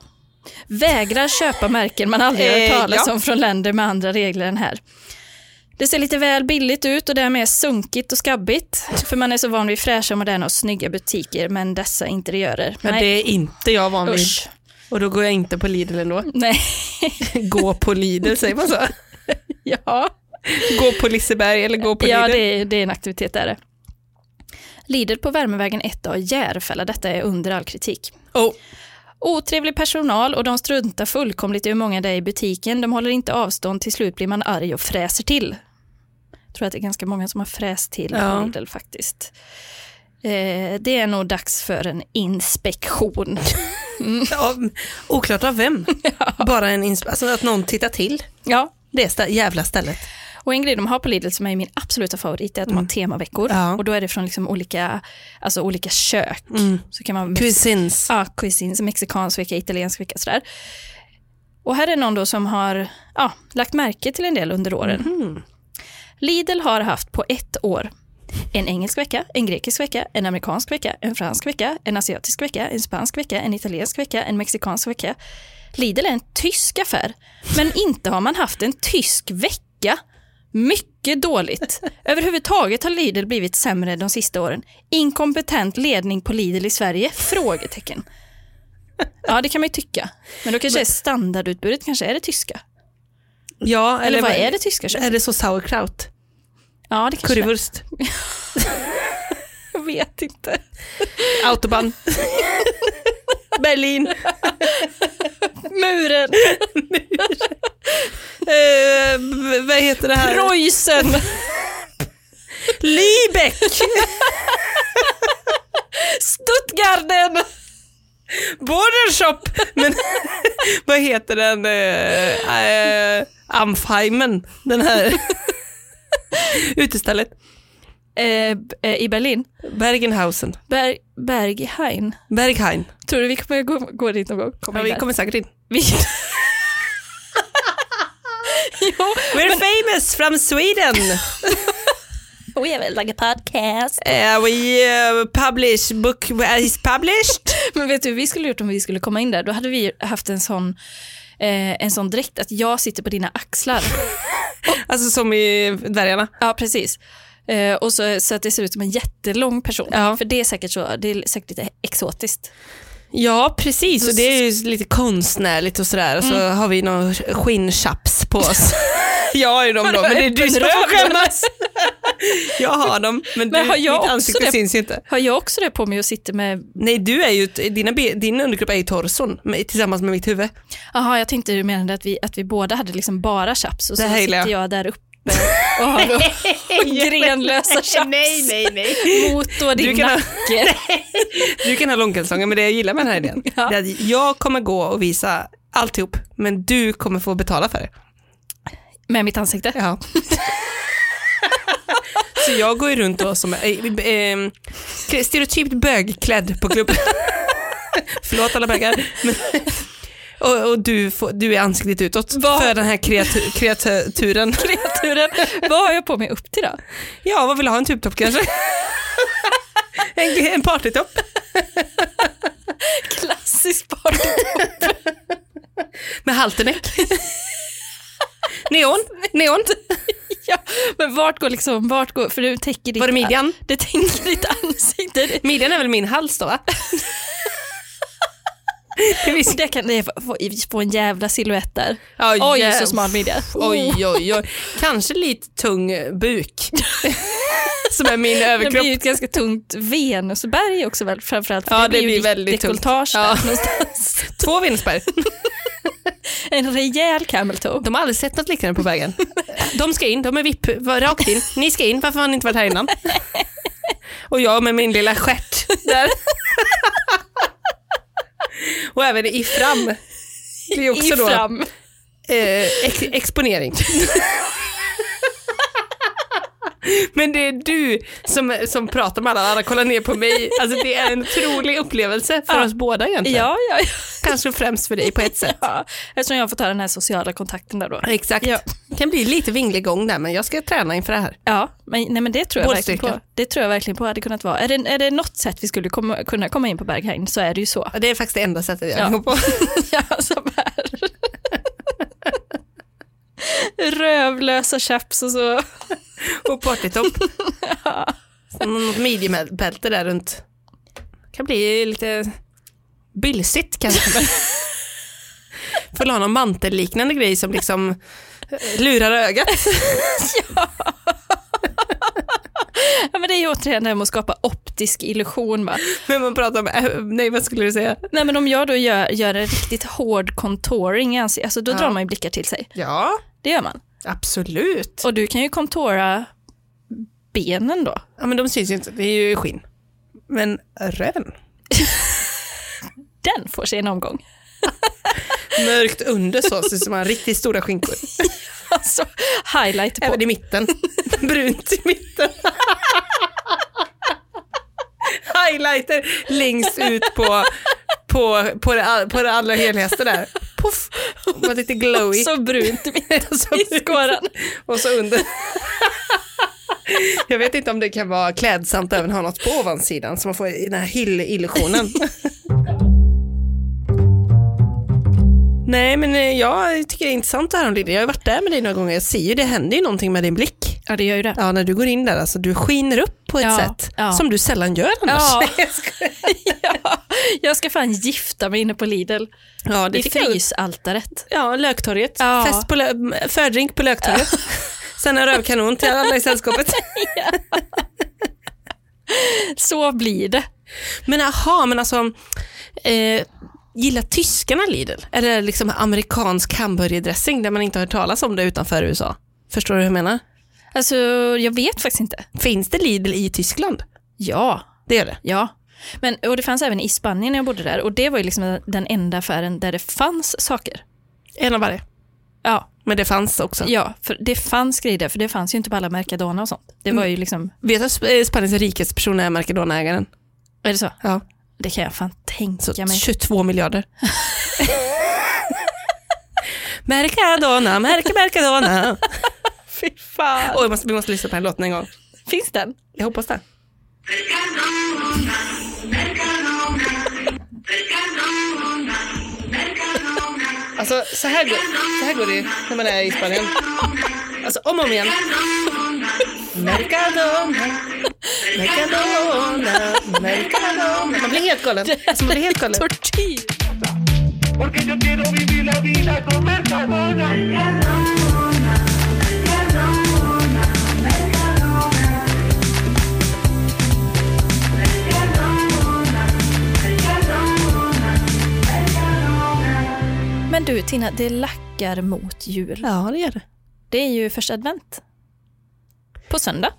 Speaker 1: Vägrar köpa märken man aldrig har
Speaker 2: Eh,
Speaker 1: hört talas
Speaker 2: ja.
Speaker 1: om från länder med andra regler än här. Det ser lite väl billigt ut och därmed är sunkigt och skabbigt. För man är så van vid fräscha, moderna och snygga butiker, men dessa interiörer.
Speaker 2: Ja, det
Speaker 1: Nej,
Speaker 2: är inte jag van vid.
Speaker 1: usch.
Speaker 2: Och då går jag inte på Lidl ändå.
Speaker 1: Nej,
Speaker 2: Gå på Lidl, säger man så?
Speaker 1: ja.
Speaker 2: Gå på Liseberg eller gå på
Speaker 1: Ja,
Speaker 2: Lidl.
Speaker 1: det är, det är en aktivitet där. det. Lidl på Värmevägen 1A i Järfälla, detta är under all kritik.
Speaker 2: Oh.
Speaker 1: Otrevlig personal och de struntar fullkomligt i hur många det är i butiken. De håller inte avstånd, till slut blir man arg och fräser till. Jag tror att det är ganska många som har fräst till på
Speaker 2: Ja.
Speaker 1: Lidl faktiskt. Eh, det är nog dags för en inspektion.
Speaker 2: Av, oklart av vem. Bara en insp- alltså att någon tittar till
Speaker 1: ja.
Speaker 2: det stä- jävla stället.
Speaker 1: Och en grej de har på Lidl som är min absoluta favorit är att de har temaveckor.
Speaker 2: Mm. Ja.
Speaker 1: Och då är det från liksom olika, alltså olika kök.
Speaker 2: Mm.
Speaker 1: Så kan man
Speaker 2: Cuisines.
Speaker 1: ja, cuisines, mexikansk vecka, italiensk vecka sådär. Och här är någon då som har ja, lagt märke till en del under åren. Lidl har haft på ett år en engelsk vecka, en grekisk vecka, en amerikansk vecka, en fransk vecka, en asiatisk vecka, en spansk vecka, en italiensk vecka, en mexikansk vecka. Lidl är en tysk affär, men inte har man haft en tysk vecka. Mycket dåligt. Överhuvudtaget har Lidl blivit sämre de sista åren. Inkompetent ledning på Lidl i Sverige? Frågetecken. Ja, det kan man ju tycka. Men då kanske är standardutbudet kanske är det tyska.
Speaker 2: Ja,
Speaker 1: Eller vad är det tyska köket?
Speaker 2: Är det så sauerkraut?
Speaker 1: Ja, det kanske det är.
Speaker 2: Currywurst?
Speaker 1: Jag vet inte.
Speaker 2: Autobahn? Berlin?
Speaker 1: Muren,
Speaker 2: Eh, v- vad heter det här?
Speaker 1: Preussen.
Speaker 2: Lübeck!
Speaker 1: Stuttgarden.
Speaker 2: Bordershop! Men vad heter den? Eh, eh, Amfheimen, den här utestället.
Speaker 1: Eh, b- eh, I Berlin.
Speaker 2: Bergenhausen.
Speaker 1: Ber Berghain.
Speaker 2: Berghain.
Speaker 1: Tror du vi kommer gå, gå dit någon gång? Kommer
Speaker 2: Ja,
Speaker 1: in
Speaker 2: vi
Speaker 1: där?
Speaker 2: kommer säkert in.
Speaker 1: Vi... jo,
Speaker 2: We're famous from Sweden.
Speaker 1: we have like a podcast.
Speaker 2: Eh, we eh, publish book eh, is published.
Speaker 1: Men vet du vi skulle gjort om vi skulle komma in där? Då hade vi haft en sån, eh, en sån dräkt att jag sitter på dina axlar.
Speaker 2: Alltså som i Dvärgarna.
Speaker 1: ja, precis. Eh, och så, så att det ser ut som en jättelång person. För det är säkert så, det är säkert lite exotiskt.
Speaker 2: Ja precis, och det är ju lite konstnärligt och sådär. Så har vi någon skinnchaps på oss. Mm. jag har ju dem då, men det är du som får skämmas. jag har dem, men,
Speaker 1: Men
Speaker 2: du,
Speaker 1: har jag
Speaker 2: ditt
Speaker 1: också
Speaker 2: ansikte
Speaker 1: det?
Speaker 2: syns ju inte.
Speaker 1: Har jag också det på mig och sitter med,
Speaker 2: Nej, du är ju, dina, be- din undergrupp är ju torson med, tillsammans med mitt huvud.
Speaker 1: jaha jag tänkte du menade att vi, att vi båda hade liksom bara chaps och så
Speaker 2: Det här gillar
Speaker 1: sitter jag där uppe och har då grenlösa chaps
Speaker 2: Nej, nej, nej.
Speaker 1: mot då din
Speaker 2: Du kan ha-
Speaker 1: nacke.
Speaker 2: Du kan ha långkalsonger, men det jag gillar med den här idén
Speaker 1: Ja.
Speaker 2: det är att jag kommer gå och visa alltihop, men du kommer få betala för det.
Speaker 1: Med mitt ansikte.
Speaker 2: Ja. Så jag går ju runt då som eh, eh, stereotypt bögklädd på klubben. Förlåt alla bögar. Men, och och du, får, du är ansiktet utåt
Speaker 1: Vad-
Speaker 2: för den här kreatur, kreaturen.
Speaker 1: Turen, vad har jag på mig upp till då?
Speaker 2: Ja, vad vill du ha? En tubtopp kanske? en en partytopp?
Speaker 1: Klassisk party.
Speaker 2: Med halterneck? Neon? Neon?
Speaker 1: Ja, men vart går liksom, vart går, för du täcker ditt,
Speaker 2: Var det midjan?
Speaker 1: det täcker ditt ansikte. Det-
Speaker 2: Midjan är väl min hals då va?
Speaker 1: Och där kan det få, få en jävla silhuett där.
Speaker 2: Ja,
Speaker 1: Oj,
Speaker 2: jä-
Speaker 1: så smal midja.
Speaker 2: Oj, oj, oj. Kanske lite tung buk. Som är min
Speaker 1: Det blir
Speaker 2: överkropp.
Speaker 1: ju ett ganska tungt venusberg också väl, framförallt. För
Speaker 2: Ja, det
Speaker 1: ju
Speaker 2: blir
Speaker 1: ditt
Speaker 2: väldigt tungt.
Speaker 1: dekolletage där
Speaker 2: Ja.
Speaker 1: någonstans.
Speaker 2: Två vinspär.
Speaker 1: En rejäl camel toe.
Speaker 2: De har aldrig sett något liknande på vägen. De ska in, de är vipp, va- rakt in. Ni ska in, varför har ni inte varit här innan? Och jag med min lilla stjärt där. Och även i fram. Det är också
Speaker 1: I
Speaker 2: då
Speaker 1: fram.
Speaker 2: Eh, ex- exponering. Men det är du som, som pratar med alla andra, kollar ner på mig. Alltså det är en otrolig upplevelse för
Speaker 1: Ja.
Speaker 2: oss båda egentligen.
Speaker 1: Ja, ja,
Speaker 2: Kanske främst för dig på ett sätt.
Speaker 1: ja. Eftersom jag får ta den här sociala kontakten där då.
Speaker 2: Exakt.
Speaker 1: Ja.
Speaker 2: Det kan bli lite vinglig gång där, men jag ska träna inför det här.
Speaker 1: Ja, men, nej, men det tror jag verkligen
Speaker 2: Bålstyrka.
Speaker 1: på. Det tror jag verkligen på hade kunnat vara. Är det, är det något sätt vi skulle komma, kunna komma in på Berghain så är det ju så.
Speaker 2: Och det är faktiskt det enda sättet jag kan
Speaker 1: Ja.
Speaker 2: gå på.
Speaker 1: Ja, som här. Rövlösa chaps och så.
Speaker 2: Och partytopp. ja. Något midjebälte där runt. Kan bli lite bylsigt kanske. Får ha någon mantelliknande grej som liksom lurar ögat.
Speaker 1: Ja, men det är ju återigen det här med att skapa optisk illusion. Va?
Speaker 2: Men man pratar om, eh, nej vad skulle du säga?
Speaker 1: Nej, men om jag då gör, gör en riktigt hård contouring i ansiktet, alltså då
Speaker 2: Ja.
Speaker 1: drar man ju blickar till sig.
Speaker 2: Ja,
Speaker 1: Det gör man.
Speaker 2: absolut.
Speaker 1: Och du kan ju kontora benen då.
Speaker 2: Ja men de syns ju inte, det är ju skinn. Men röven?
Speaker 1: Den får sig en omgång.
Speaker 2: Mörkt under så, ser ut som man riktigt stora skinkor.
Speaker 1: Alltså, highlight på.
Speaker 2: Även i mitten. Brunt i mitten. Highlighter längst ut på, på, på, det, all- på det allra heligaste där. Puff. Var lite glowy.
Speaker 1: Så brunt i min-
Speaker 2: Och så-
Speaker 1: i skåran.
Speaker 2: och så under. Jag vet inte om det kan vara klädsamt att även ha något på ovansidan så man får den här hyllillusionen. Nej men eh, jag tycker det är intressant det här om Lilly. Jag har ju varit där med dig några gånger. Jag ser ju det händer ju någonting med din blick.
Speaker 1: Ja, det gör ju det.
Speaker 2: Ja, när du går in där, alltså, du skiner upp på ett
Speaker 1: Ja,
Speaker 2: sätt
Speaker 1: ja.
Speaker 2: som du sällan gör annars.
Speaker 1: Ja.
Speaker 2: Jag skojar.
Speaker 1: Ja, jag ska fan gifta mig inne på Lidl.
Speaker 2: ja det
Speaker 1: I
Speaker 2: tycker jag.
Speaker 1: frysaltaret.
Speaker 2: Ja, Löktorget.
Speaker 1: Ja.
Speaker 2: Fest på lö- fördrink på Löktorget. Sen en rövkanon till alla i sällskapet.
Speaker 1: Så blir det.
Speaker 2: Men aha, men alltså, eh, gillar tyskarna Lidl? Eller liksom amerikansk hamburgerdressing där man inte har hört talas om det utanför USA? Förstår du hur jag menar?
Speaker 1: Alltså, jag vet faktiskt inte.
Speaker 2: Finns det Lidl i Tyskland?
Speaker 1: Ja,
Speaker 2: Det gör det.
Speaker 1: ja. Men, och det fanns även i Spanien när jag bodde där och det var ju liksom den enda affären där det fanns saker.
Speaker 2: En av varje.
Speaker 1: Ja,
Speaker 2: Men det fanns också.
Speaker 1: ja för det fanns grejer där, för det fanns ju inte på alla Mercadona och sånt. Det var ju liksom,
Speaker 2: Vet du att Sp- eh, Spaniens rikets person är Mercadona-ägaren?
Speaker 1: är det så?
Speaker 2: Ja.
Speaker 1: Det kan jag fan
Speaker 2: Så
Speaker 1: tänka mig.
Speaker 2: 22 Alltså, miljarder. Mercadona, Merca, Mercadona.
Speaker 1: Fy fan.
Speaker 2: Oj, jag måste, vi måste lyssna på den här låten en gång.
Speaker 1: Finns den?
Speaker 2: Jag hoppas det. Alltså så här, går, så här går det ju när man är i Spanien. Alltså om och om igen. Mercadona. Mercadona, Mercadona. Man blir helt galen. Alltså man blir helt galen.
Speaker 1: Tortyr.
Speaker 4: Porque yo quiero vivir la vida con Mercadona.
Speaker 1: Men du Tina, det lackar mot jul.
Speaker 2: Ja, det gör det.
Speaker 1: Det är ju första advent. På söndag.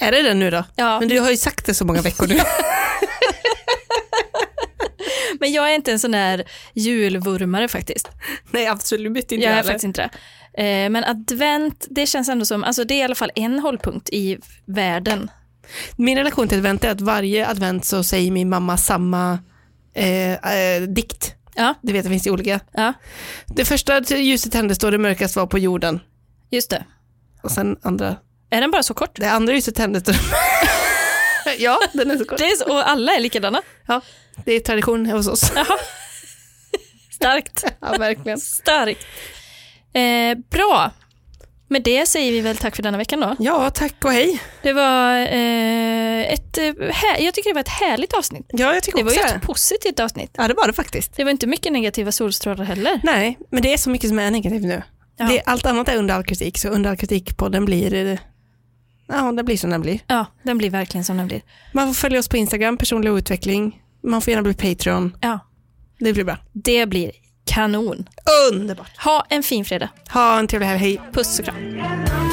Speaker 2: Är det det nu då?
Speaker 1: Ja.
Speaker 2: Men du har ju sagt det så många veckor nu.
Speaker 1: Men jag är inte en sån här julvurmare faktiskt.
Speaker 2: Nej, absolut inte
Speaker 1: Jag är
Speaker 2: heller.
Speaker 1: faktiskt inte det. Eh, Men advent, det känns ändå som, alltså det är i alla fall en hållpunkt i världen.
Speaker 2: Min relation till advent är att varje advent så säger min mamma samma eh, eh, dikt.
Speaker 1: Ja,
Speaker 2: Du vet, det finns ju olika.
Speaker 1: ja
Speaker 2: Det första ljuset tändes då det mörkaste var på jorden.
Speaker 1: just det.
Speaker 2: Och sen andra.
Speaker 1: Är den bara så kort?
Speaker 2: Det andra ljuset tändes då... ja, den är så kort.
Speaker 1: Det är så, och alla är likadana.
Speaker 2: Ja, det är tradition hos oss.
Speaker 1: Starkt.
Speaker 2: Ja, verkligen.
Speaker 1: Starkt. Eh, bra. Med det säger vi väl tack för denna veckan då.
Speaker 2: Ja, tack och hej.
Speaker 1: Det var eh, ett, eh, här, jag tycker det var ett härligt avsnitt.
Speaker 2: Ja, jag tycker
Speaker 1: Det var ju
Speaker 2: också
Speaker 1: ett positivt avsnitt.
Speaker 2: Ja, det var det faktiskt.
Speaker 1: Det var inte mycket negativa solstrålar heller.
Speaker 2: Nej, men det är så mycket som är negativt nu.
Speaker 1: Ja.
Speaker 2: Det, allt annat är under all kritik, så under all kritik på den blir... eh, Ja, den blir som den blir.
Speaker 1: Ja, den blir verkligen som den blir.
Speaker 2: Man får följa oss på Instagram, personlig utveckling. Man får gärna bli Patreon.
Speaker 1: Ja,
Speaker 2: Det blir bra.
Speaker 1: det blir kanon.
Speaker 2: Underbart.
Speaker 1: Ha en fin fredag.
Speaker 2: Ha en trevlig helg. Hej.
Speaker 1: Puss och kram.
Speaker 4: Mercadona.